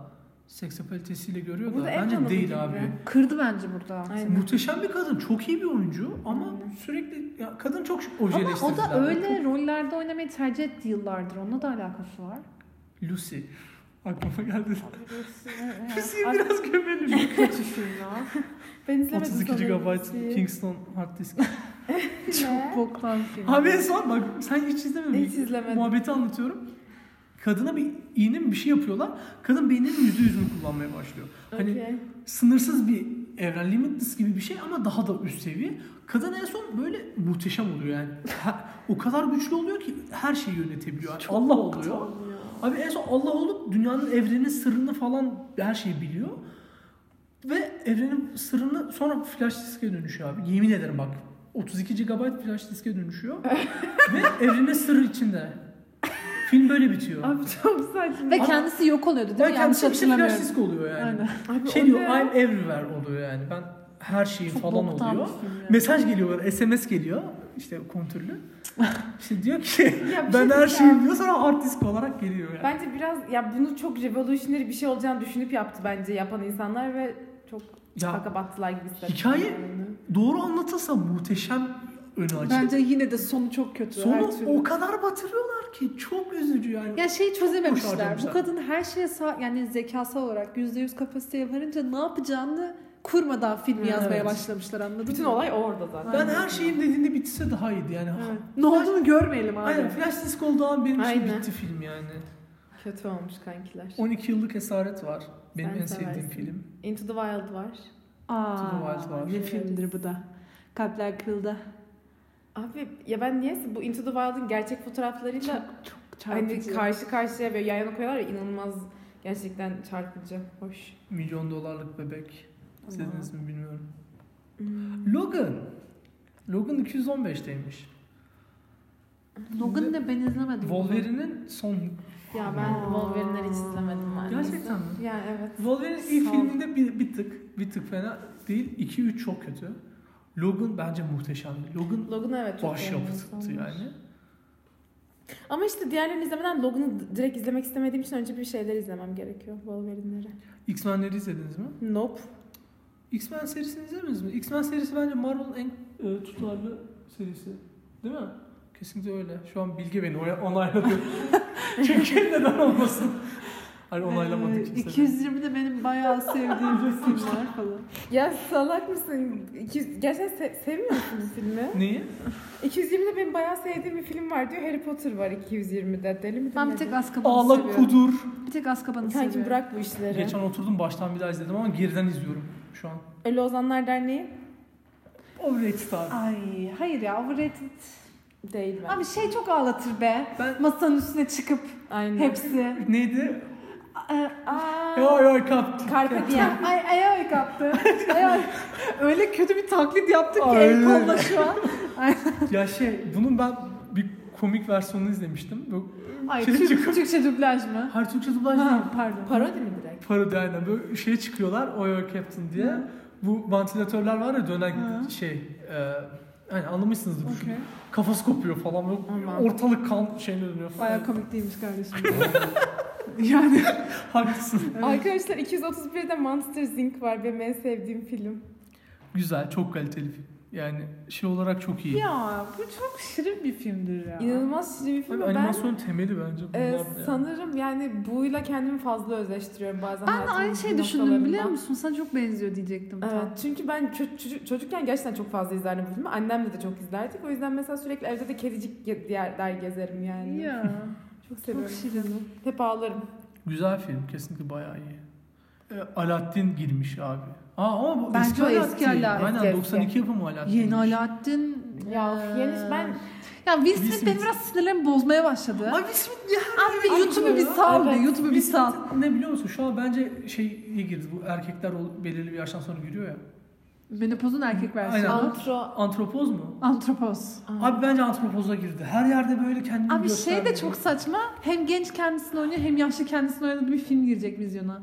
Seksapalitesiyle görüyor Bu da da en bence tanıdığı değil gibi. abi. Kırdı bence burada. Aynen. Muhteşem bir kadın. Çok iyi bir oyuncu ama sürekli ya kadın çok Ama objeleştirdiler. o da öyle rollerde oynamayı tercih etti yıllardır. Onunla da alakası var. Lucy. Aklıma geldi. e, Lucy'yi Ay, biraz gömelim. Kötü film ya. Ben 32 GB Kingston hard disk. Çok boktan film. Abi en son bak sen hiç izlemedin. Hiç izlemedim. Muhabbeti anlatıyorum. Kadına bir iğne mi bir şey yapıyorlar. Kadın beyninin yüzde yüzünü kullanmaya başlıyor. Hani Okey. sınırsız bir evren limitless gibi bir şey ama daha da üst seviye. Kadın en son böyle muhteşem oluyor yani. Ha- o kadar güçlü oluyor ki her şeyi yönetebiliyor. Yani Allah oluyor. Abi en son Allah olup dünyanın evrenin sırrını falan her şeyi biliyor. Ve evrenin sırrını sonra flash diske dönüşüyor abi. Yemin ederim bak. 32 GB flash diske dönüşüyor. Ve evrenin sırrı içinde. Film böyle bitiyor. Abi çok saçma. Ve Ama- kendisi yok oluyordu değil mi? Ben Yanlış kendisi şey işte flash hatırlamıyorum. disk oluyor yani. Aynen. Abi Şey o diyor ne? I'm everywhere oluyor yani. Ben her şeyim Çok falan boktan oluyor. bir film ya. Mesaj geliyor, SMS geliyor. işte kontürlü. işte diyor ki Ya bir şey ben her diyeceğim. şeyim diyor sonra hard disk olarak geliyor yani. Bence biraz ya bunu çok revolutionary bir şey olacağını düşünüp yaptı bence yapan insanlar ve çok Ya, baka battılar gibi hissediyorum. hikaye- yani. Doğru anlatılsa muhteşem önü açık. Bence yine de sonu çok kötü. her türlü. Sonu o kadar batırıyorlar ki çok üzücü yani. Ya şeyi Boş çözememişler. harcamışlar. Bu kadın her şeye sağ, yani zekasal olarak %100 kapasiteye varınca ne yapacağını kurmadan filmi Evet. yazmaya başlamışlar anladın Bütün mı? olay orada zaten. ben her şeyim dediğinde bitse daha iyiydi yani. Evet. Ne olduğunu görmeyelim abi. Aynen flash disk olduğu an benim için Aynen. bitti film yani. Kötü olmuş kankiler. 12 yıllık esaret var. Benim Sen en sevdiğim seversin. film. Into the Wild var. Aa, To the Wild var. Ne filmdir bu da? Kalpler kırıldı. Abi ya ben niyeyse bu Into the Wild'ın gerçek fotoğraflarıyla Çok hani çarpıcı. karşı karşıya böyle yan yana koyuyorlar ya inanılmaz gerçekten çarpıcı. Hoş. Milyon dolarlık bebek. İzlediniz mi bilmiyorum. Hmm. Logan. Logan 215'teymiş. Logan'ı da ben izlemedim. Wolverine'in son... Ya ben Aa. Wolverine'leri hiç izlemedim maalesef. Gerçekten mi? Ya evet. Wolverine'in ilk Sağ ol. filminde bir, bir tık bir tık fena değil. 2-3 çok kötü. Logan bence muhteşemdi. Logan Logan evet çok başyapıttı beğendim. yani. Ama işte diğerlerini izlemeden Logan'ı d- direkt izlemek istemediğim için önce bir şeyler izlemem gerekiyor. Wolverine'leri. X-Men'leri izlediniz mi? Nope. X-Men serisini izlediniz mi? X-Men serisi bence Marvel'ın en e, tutarlı serisi. Değil mi? Kesinlikle öyle. Şu an Bilge beni oraya onayladı. Çünkü neden olmasın? Hani onaylamadı Ee, kimse. de. 220 de benim bayağı sevdiğim bir film var falan. Ya salak mısın? 200, gerçekten se- sevmiyor musun bu filmi? Neyi? 220'de benim bayağı sevdiğim bir film var diyor. Harry Potter var 220'de. Deli mi? Ben bir tek Azkaban'ı Ağla seviyorum. kudur. Bir tek Azkaban'ı Sanki seviyorum. bırak bu işleri. Geçen oturdum baştan bir daha izledim ama geriden izliyorum şu an. Ölü Ozanlar E, Derneği Overrated abi. Ay hayır ya overrated. değil ben. Abi şey çok ağlatır be. Ben- Masanın üstüne çıkıp Aynen. hepsi. Neydi? Aa. Yo yo kap. Carpe Diem. Ay ayağı kaptı. Ayağı- Öyle kötü bir taklit yaptım ki Aynen. el kolla şu an. Ya şey bunun ben bir komik versiyonunu izlemiştim. Böyle Ay Şey Türk- çıkıp- Türkçe dublaj mı? her Türkçe dublaj değil. Ha, pardon. Parodi mi direkt? Parodi aynen. Böyle şeye çıkıyorlar Oyo Captain diye. Bu vantilatörler var ya dönen Hı. şey. E, yani anlamışsınızdır. bu Okey. filmi. Kafası kopuyor falan. Böyle Aman. ortalık kan şeyine dönüyor falan. Bayağı komik değilmiş kardeşim. yani Haklısın. Arkadaşlar 231'de Monsters Inc. var benim en sevdiğim film. Güzel, çok kaliteli. film. Yani şey olarak çok iyi. ya bu çok şirin bir filmdir ya. İnanılmaz şirin bir film. Tabii ve Ben animasyon temeli bence bunlar. e, yani. sanırım yani buyla kendimi fazla özleştiriyorum bazen. Ben de hayatımın aynı bu şey düşündüm biliyor noktalarında. musun? Sana çok benziyor diyecektim. tam. Evet, çünkü ben çö- çocuk- çocukken gerçekten çok fazla izlerdim bu filmi. Annemle de çok izlerdik. O yüzden mesela sürekli evde de kedicik ge- diğer der gezerim yani. Ya. Çok seviyorum. çok şirin. Hep ağlarım. Güzel film, kesinlikle bayağı iyi. E, Aladdin girmiş abi. Aa ama bu Bence eski o Aladdin. eski Aladdin. Aynen Eski, eski. 92 yapımı Aladdin. Yeni girmiş. Alaaddin. Ya eee, yeni ben Ya Will Will Smith, Smith. benim biraz sinirlerimi bozmaya başladı. Ay bir şey ya. Abi bir Ay, YouTube'u doğru. bir sal be, Evet. YouTube'u bir Biz sal. ne biliyor musun? Şu an bence şeye girdi. Bu erkekler o belirli bir yaştan sonra giriyor ya. Menopozun erkek versiyonu. Aynen. antro... Antropoz mu? Antropoz. Abi bence antropoza girdi. Her yerde böyle kendini Abi şey de göstermiyor. çok saçma. Hem genç kendisini oynuyor hem yaşlı kendisini oynadığı bir film girecek vizyona.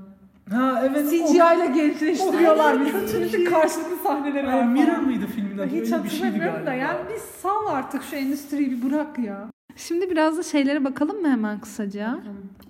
Ha evet. CGI ile gençleştiriyorlar bizi. Çünkü karşılıklı sahneleri O, var. şey. Mirror falan. mıydı filmin adı? Hiç Öyle bir şeydi hatırlamıyorum da galiba. yani bir sal artık şu endüstriyi bir bırak ya. Şimdi biraz da şeylere bakalım mı hemen kısaca?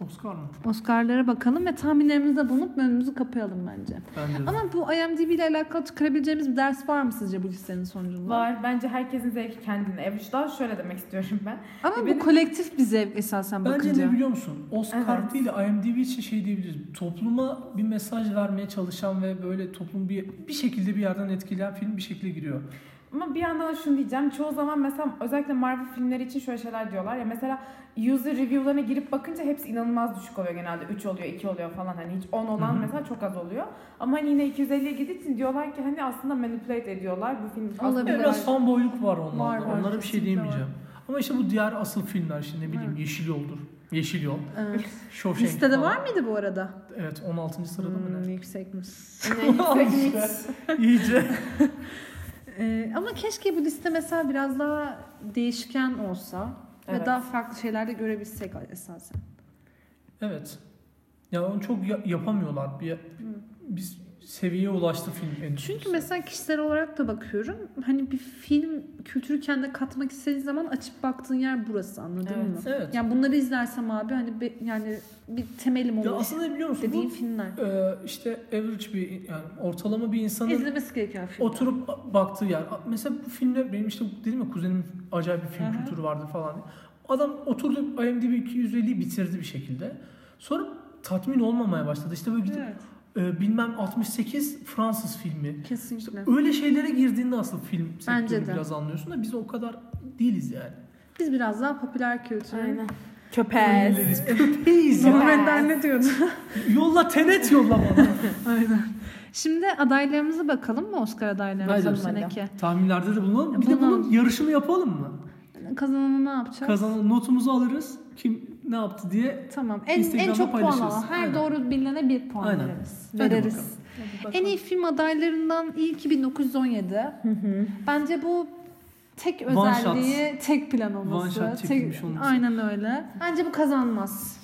Oscar mı? Oscar'lara bakalım ve tahminlerimizde bulunup önümüzü kapayalım bence. Bence de. Ama bu IMDb ile alakalı çıkarabileceğimiz bir ders var mı sizce bu listenin sonucunda? Var. Bence herkesin zevki kendine. Evet, daha şöyle demek istiyorum ben. Ama bu Benim- kolektif bir zevk esasen E, Bence bakınca. ne biliyor musun? Oscar Evet. değil de IMDb için şey diyebiliriz. Topluma bir mesaj vermeye çalışan ve böyle toplum bir, bir şekilde bir yerden etkileyen film bir şekilde giriyor. Ama bir yandan da şunu diyeceğim. Çoğu zaman mesela özellikle Marvel filmleri için şöyle şeyler diyorlar ya. Mesela user review'larına girip bakınca hepsi inanılmaz düşük oluyor genelde. 3 oluyor, 2 oluyor falan. Hani hiç 10 olan Hı hı. mesela çok az oluyor. Ama hani yine 250'ye gidince diyorlar ki hani aslında manipulate ediyorlar bu film. aslında- Olabilir. Yani biraz fanboyluk var onlarda. Var, var, Onlara bir şey kesinlikle diyemeyeceğim. Ama işte bu diğer asıl filmler şimdi ne bileyim Yeşil Yol'dur. Yeşil Yol. Evet. Shawshank Listede şey, falan. var mıydı bu arada? Evet 16. sırada mı Hmm, ne? yüksekmiş. Yine yüksek mix. İyice. Ee, ama keşke bu liste mesela biraz daha değişken olsa ve Evet. daha farklı şeyler de görebilsek esasen. Evet. Ya onu çok ya- yapamıyorlar. Bir, biz seviyeye ulaştı film endüstrisi. Çünkü mesela kişisel olarak da bakıyorum. Hani bir film kültürü kendine katmak istediğin zaman açıp baktığın yer burası anladın Evet. mı? Evet. Yani bunları izlersem abi hani be- yani bir temelim Ya olur aslında biliyor musun? dediğin Bu, filmler. e, işte average bir yani ortalama bir insanın İzlemesi gereken filmler. Oturup baktığı yer. Mesela bu filmde benim işte dedim ya kuzenimin acayip bir film Hı hı. kültürü vardı falan. diye. Adam oturdu IMDb 250'yi bitirdi bir şekilde. Sonra tatmin olmamaya başladı. İşte böyle gidip Evet. e, bilmem 68 Fransız filmi. İşte Kesinlikle. öyle şeylere girdiğinde asıl film Bence sektörünü de. biraz anlıyorsun da biz o kadar değiliz yani. Biz biraz daha popüler kültür. Aynen. Köpez. Değiliz ya. Evet. Ben ne diyorum? Yolla tenet yolla bana. Aynen. Şimdi adaylarımıza bakalım mı Oscar adaylarımıza bu Haydi. seneki? Tahminlerde de bulunalım. Bir de Bulunalım. bunun yarışını yapalım mı? Kazananı ne yapacağız? Kazanan notumuzu alırız. Kim ne yaptı diye Tamam. En, en Instagram'da çok puan paylaşırız. alan. Her Aynen. doğru bilinene bir puan Aynen. veririz. Hadi veririz. bakalım. En iyi film adaylarından ilki 1917. Bence bu tek One shot. özelliği tek plan One olması. shot çekilmiş tek, olması. Aynen öyle. Bence bu kazanmaz.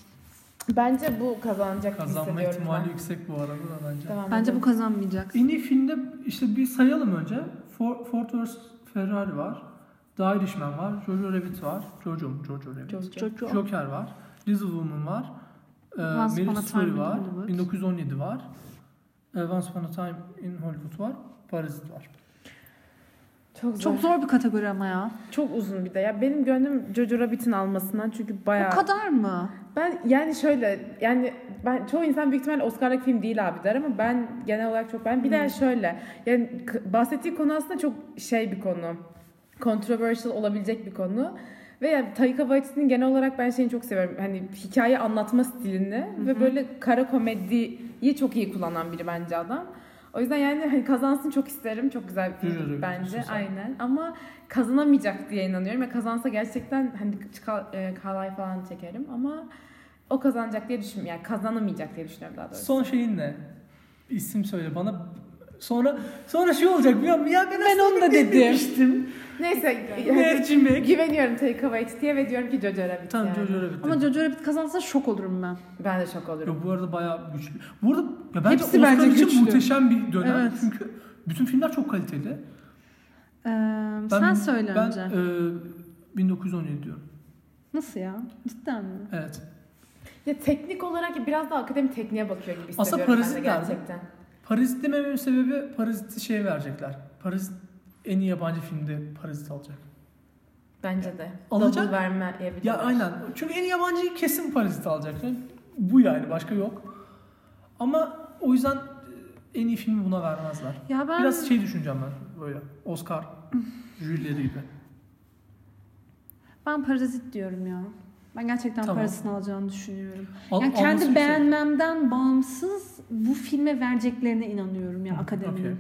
Bence bu kazanacak gibi Kazanma hissediyorum ihtimali yüksek bu arada da bence. ben. Devam Bence bu edelim. kazanmayacak. En iyi filmde işte bir sayalım önce. For- Ford vs Ferrari var. The Irishman var. Jojo Rabbit var. Jojo mu? Jojo Rabbit. Çok- çok- Jojo. Joker var. Little Woman var. Ee, Once Upon Marriage a Time Story in var. Hollywood. 1917 var. Ee, Once Upon a Time in Hollywood var. Parazit var. Çok zor. Çok Çok, zor bir kategori ama ya. uzun bir de. Ya benim gönlüm Jojo Rabbit'in almasından çünkü bayağı... O kadar mı? Ben yani şöyle yani ben çoğu insan büyük ihtimalle Oscar'lık film değil abi der ama ben genel olarak çok ben bir de şöyle yani k- bahsettiği konu aslında çok şey bir konu. Controversial olabilecek bir konu. Ve yani Taika Waititi'nin genel olarak ben şeyini çok seviyorum. Hani hikaye anlatma stilini ve böyle kara komediyi çok iyi kullanan biri bence adam. O yüzden yani hani kazansın çok isterim. Çok güzel bir Jojo Rabbit film diyorsun bence. sen. Aynen. Ama kazanamayacak diye inanıyorum. Ve kazansa gerçekten hani çıkar, e, kalay falan çekerim ama o kazanacak diye düşünmüyorum. Yani kazanamayacak diye düşünüyorum daha doğrusu. Son şeyin ne? İsim söyle bana. Sonra sonra şey olacak biliyor musun? Ya ben, Ben onu da dedim. demiştim. Neyse yani Mercimek. güveniyorum Taika Waititi'ye ve diyorum ki Jojo Rabbit Tamam yani. Jojo Rabbit. Ama Jojo Rabbit kazansa şok olurum ben. Ben de şok olurum. Ya bu arada bayağı güçlü. Bu arada ya bence Hepsi Oscar bence için güçlü. muhteşem bir dönem. Evet. Çünkü bütün filmler çok kaliteli. Ee, sen söyle ben, önce. e, 1917 diyorum. Nasıl ya? Cidden mi? Evet. Ya teknik olarak biraz daha akademi tekniğe bakıyor gibi hissediyorum Aslında ben Parazit de nerede? gerçekten. Parazit dememin sebebi Parazit'i şey verecekler. Parazit en iyi yabancı filmde Parazit alacak. Bence de. Alacak. Double vermeyebilirler. Ya aynen. Çünkü en iyi yabancı kesin Parazit alacak. Yani bu yani başka yok. Ama o yüzden e, en iyi filmi buna vermezler. Ya ben Biraz şey düşüneceğim ben böyle. Oscar jürileri gibi. ben parazit diyorum ya. Ben gerçekten Tamam. parasını alacağını düşünüyorum. Al- yani alması kendi bir şey. beğenmemden bağımsız bu filme vereceklerine inanıyorum ya akademinin. Okey.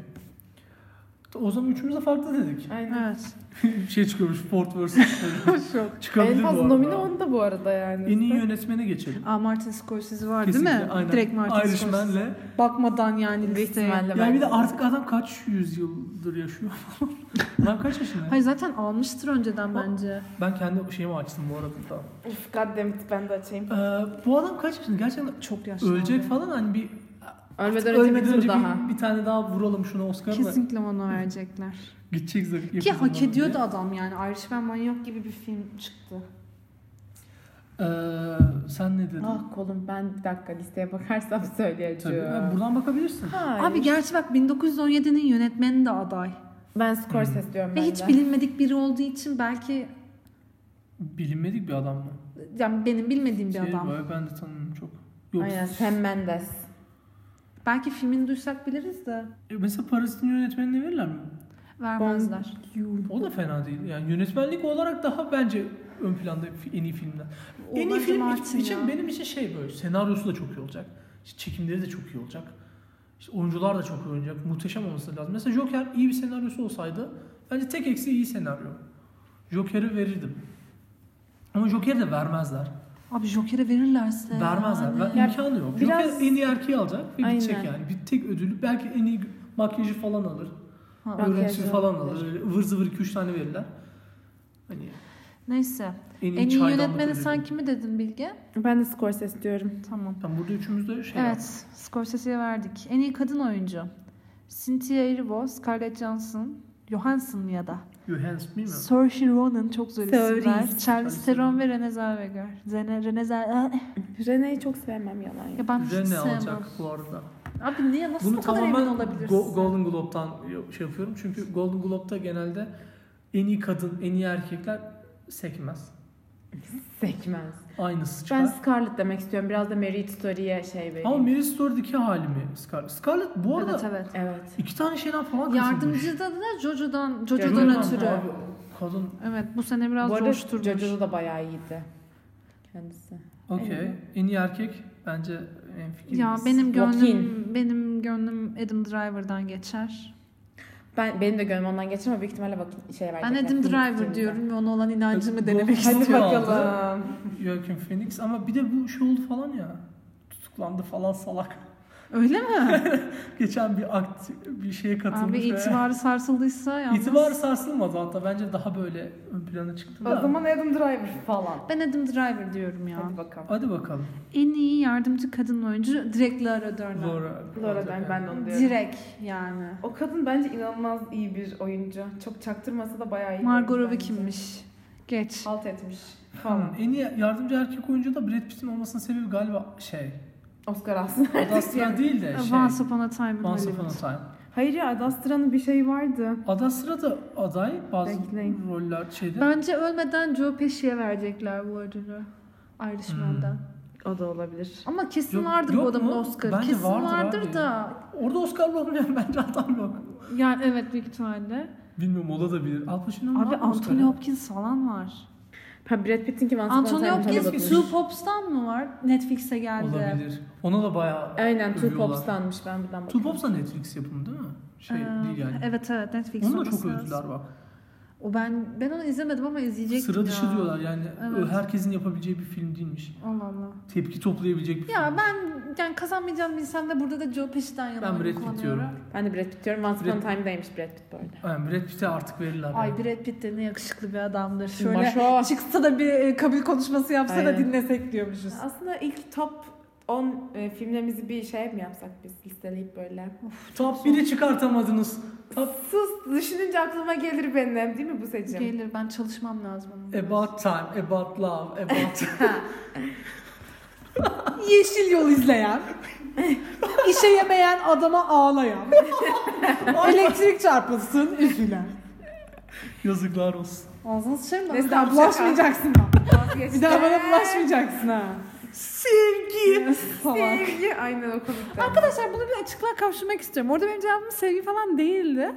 O zaman üçümüz de farklı dedik. Aynen. Evet. şey çıkıyormuş Ford vs. Şok. Çıkabilir en bu fazla arada. nomine onu da bu arada yani. En iyi yönetmene geçelim. Aa, Martin Scorsese var değil Kesinlikle, mi? aynen. Direkt Martin Scorsese. Irishman'le. Bakmadan yani Büyük listeye. ihtimalle Yani belki. bir de artık adam kaç yüzyıldır yaşıyor falan. adam kaç yaşında? Hayır zaten almıştır önceden bence. Ben kendi şeyimi açtım bu arada da. Uf goddammit ben de açayım. Ee, bu adam kaç yaşında? Gerçekten Çok yaşlı. ölecek abi. falan hani bir Ölmeden önce bir ölmeden tur önce daha. bir, bir tane daha vuralım şuna Oscar'la. Kesinlikle ona verecekler. Gidecek zaten. Ki yakın hak zamanda ediyordu diye. adam yani. Irishman Manyak gibi bir film çıktı. Ee, sen ne dedin? Ah kolum ben bir dakika listeye bakarsam söyleyeceğim. Tabii. Ha, buradan bakabilirsin. Hayır. Abi gerçi bak 1917'nin yönetmeni de aday. ben Scorsese diyorum Ve ben hiç de. bilinmedik biri olduğu için belki Bilinmedik bir adam mı? yani benim bilmediğim bir adam. Şey, ben de tanımıyorum çok. Yok. Aynen Sam Mendes. Belki filmini duysak biliriz de E, Mesela Parazit'in yönetmenini verirler mi? vermezler. O da fena değil. Yani yönetmenlik olarak daha bence ön planda fi- en iyi filmler. en iyi Olmaz film iç- Martin için ya. benim için şey böyle senaryosu da çok iyi olacak. İşte çekimleri de çok iyi olacak. İşte oyuncular da çok iyi oynayacak. Muhteşem olması lazım. Mesela Joker iyi bir senaryosu olsaydı bence tek eksiği iyi senaryo. Joker'i verirdim. Ama Joker'i de vermezler. Abi Joker'e verirlerse. Vermezler. yani. Ver, Ya imkanı yok. biraz- Joker en iyi erkeği alacak ve gidecek Aynen. yani. Bir tek ödülü belki en iyi makyajı falan alır. Ha, Makyaj Görüntüsü falan olabilir. alır. Öyle ıvır zıvır 2-3 tane verirler. Hani Neyse. en iyi, En iyi çaydanlık yönetmeni ödülü. sen kimi dedin Bilge? Ben de Scorsese diyorum. Tamam. Tam burada üçümüz de şey Evet. Scorsese'ye verdik. En iyi kadın oyuncu. Cynthia Erivo, Scarlett Johansson, Johansson ya da Johansson değil mi? Saoirse Ronan çok zor Saoirse. isimler. Charlize Charlize Theron ve Renée Zellweger. Zene, Renée Zellweger. Rene'yi çok sevmem yalan ya. Ya ben hiç Rene sevmem. alacak bu arada. Abi niye nasıl Bunu bu kadar emin tamamen olabilirsin? Go- Golden Globe'dan şey yapıyorum. Çünkü Golden Globe'da genelde en iyi kadın, en iyi erkekler sekmez. Sekmez. Aynısı Ben çıkar. Scarlett demek istiyorum. Biraz da Marriage Story'e şey vereyim. Ama Mary Story'deki hali mi Scarlett? Scarlett bu arada Evet evet. Evet. iki tane şeyden falan katılmış. Yardımcıda da Jojo'dan, Jojo'dan Görüyorum ötürü. abi, Kadın Evet bu sene biraz Bu arada coşturmuş. Jojo'da da bayağı iyiydi. Kendisi. okey. Evet. En iyi erkek bence en fikir. Ya benim Joaquin. gönlüm benim gönlüm Adam Driver'dan geçer. Ben benim de gönlüm ondan geçer ama büyük ihtimalle bak şey verecekler. Ben Adam Film Driver fikrini. diyorum ve ona olan inancımı Go- denemek Hadi Hadi istiyorum. bakalım. Joaquin Phoenix ama bir de bu şey oldu falan ya. Tutuklandı falan salak. Öyle mi? Geçen bir akt bir şeye katılmış. Abi ve- itibarı sarsıldıysa yalnız. İtibarı sarsılmadı hatta bence daha böyle ön plana çıktı O da. zaman Adam Driver falan. Ben Adam Driver diyorum ya. Hadi bakalım. Hadi bakalım. En iyi yardımcı kadın oyuncu direkt Laura Dern. Laura. Laura ben, ben de onu diyorum. Direkt yani. O kadın bence inanılmaz iyi bir oyuncu. Çok çaktırmasa da bayağı iyi. bir Margot oyuncu Robbie bence. kimmiş? Şey- Geç. Halt etmiş Tamam. falan. En iyi yardımcı erkek oyuncu da Brad Pitt'in olmasının sebebi galiba şey. Oscar alsın. Adastra değil de şey. Once Upon a Time in Once Upon a Hollywood. Time. Hayır ya Adastra'nın bir şeyi vardı. Ada sırada aday bazı Bekleyin. roller şeyde. Bence ölmeden Joe Pesci'ye verecekler bu ödülü. Ayrışmandan. O da olabilir. Ama kesin Hmm. Yok- vardır yok bu adamın mu? Oscar'ı. Bence kesin vardır vardır, abi. da. Orada Oscar olmayan bence adam yok. Yani evet büyük ihtimalle. Bilmiyorum o da bilir. Al Pacino'nun Abi var mı Oscar'ı? Anthony Hopkins falan var. Ha Brad Pitt'in ki Anthony Hopkins bakıyoruz. Two Pops'tan mı var? Netflix'e geldi. Olabilir. Ona da bayağı Aynen Two Övüyorlar. Pops'tanmış ben buradan Two bakıyorum. Pops da Netflix yapımı değil mi? Şey Ee, değil yani. Evet evet Netflix. Onun da olması çok lazım. övdüler bak. O ben ben onu izlemedim ama izleyecektim Sıra dışı ya. diyorlar yani. Evet. Herkesin yapabileceği bir film değilmiş. Allah Allah. Tepki toplayabilecek bir Ya film. ben yani kazanmayacağımı bilsem de burada da Joe Pesci'den yana Ben Brad Pitt diyorum. Ben de Brad Pitt diyorum. Once Upon Brad- a Time'daymış Brad Pitt bu arada. Yani Brad Pitt'e artık verirler. Ay yani. Brad Pitt de ne yakışıklı bir adamdır. Şöyle Maşo. çıksa da bir e, kabul konuşması yapsa da Aynen. dinlesek diyormuşuz. Aslında ilk top 10 e, filmlerimizi bir şey mi yapsak biz listeleyip böyle? Top 1'i çıkartamadınız. Top Sus düşününce aklıma gelir benim değil mi bu seçim? Gelir ben çalışmam lazım onun. About Time, About Love, About Yeşil yol izleyen, işe yemeyen adama ağlayan, elektrik çarpılsın, üzülen. Yazıklar olsun. Ağzına sıçarım da Neyse, bir daha hoşça kal. bulaşmayacaksın bana. Bir daha bana bulaşmayacaksın ha. Sevgi. Sevgi aynen o komikten. Arkadaşlar bunu bir açıklığa kavuşturmak istiyorum. Orada benim cevabım sevgi falan değildi.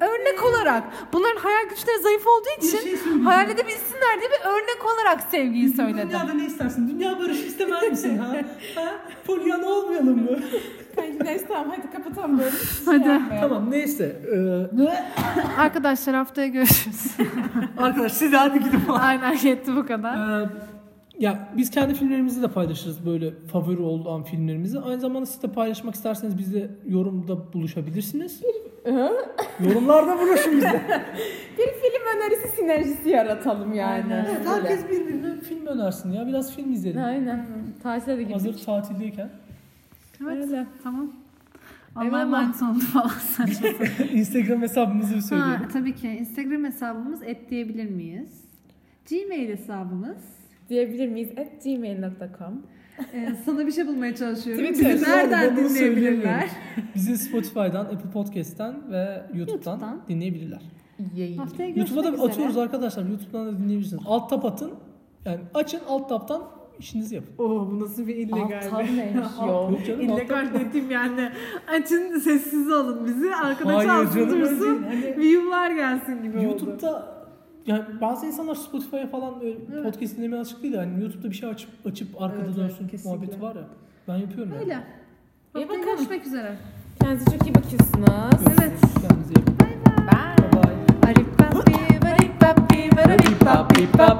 Örnek olarak bunların hayal güçleri zayıf olduğu Bir şey için söyleyeyim. hayal edebilsinler diye bir örnek olarak sevgiyi söyledim. Dünyada ne istersin? Dünya barışı istemez misin ha? ha? Polyan olmayalım mı? Neyse tamam hadi kapatalım böyle. şey Hadi. tamam neyse. Ee, Arkadaşlar haftaya görüşürüz. arkadaş siz de hadi gidin falan. Aynen yetti bu kadar. Ee, ya biz kendi filmlerimizi de paylaşırız böyle favori olan filmlerimizi. Aynı zamanda siz de paylaşmak isterseniz bizle yorumda buluşabilirsiniz. Yorumlarda buluşun bizle. Bir film önerisi sinerjisi yaratalım yani. Aynen. evet, Böyle. herkes birbirine film önersin ya. Biraz film izleyelim. Aynen. Tatile de gidiyor. Hazır tatildeyken. Evet. Öyle. Tamam. Eyvallah. Allah'a emanet olun falan saçma. Instagram hesabımızı bir ha, söyleyelim. tabii ki. Instagram hesabımız et diyebilir miyiz? Gmail hesabımız. Diyebilir miyiz? At gmail.com Ee, sana bir şey bulmaya çalışıyorum. Twitter. Bizi nereden Bunu dinleyebilirler? söyleyemiyorum. Bizi Spotify'dan, Apple Podcast'ten ve YouTube'dan, YouTube'dan. dinleyebilirler. Yayın. Haftaya görüşmek YouTube'a da üzere. atıyoruz arkadaşlar. YouTube'dan da dinleyebilirsiniz. Alt tap atın. Yani açın alt taptan işinizi yapın. Oo Oh, bu nasıl bir illegal. Aptal neymiş yo. Yok canım, alt tap- illegal dedim yani. Açın sessiz alın bizi. Hayır Arkadaşı canım, öyle altı değil. dursun. Hani View'lar gelsin gibi oldu. YouTube'da yani bazı insanlar Spotify'a falan böyle podcast dinlemeye açık değil. de Yani YouTube'da bir şey açıp açıp arkada Evet, evet, dönsün kesinlikle. muhabbeti var ya. Ben yapıyorum yani. Öyle. İyi Haftaya bakalım. görüşmek üzere. Kendinize çok iyi bakıyorsunuz. Görüşürüz. Evet. Kendinize iyi bakın. Bye. Bye bye. Arif papi, arif papi, arif papi, papi.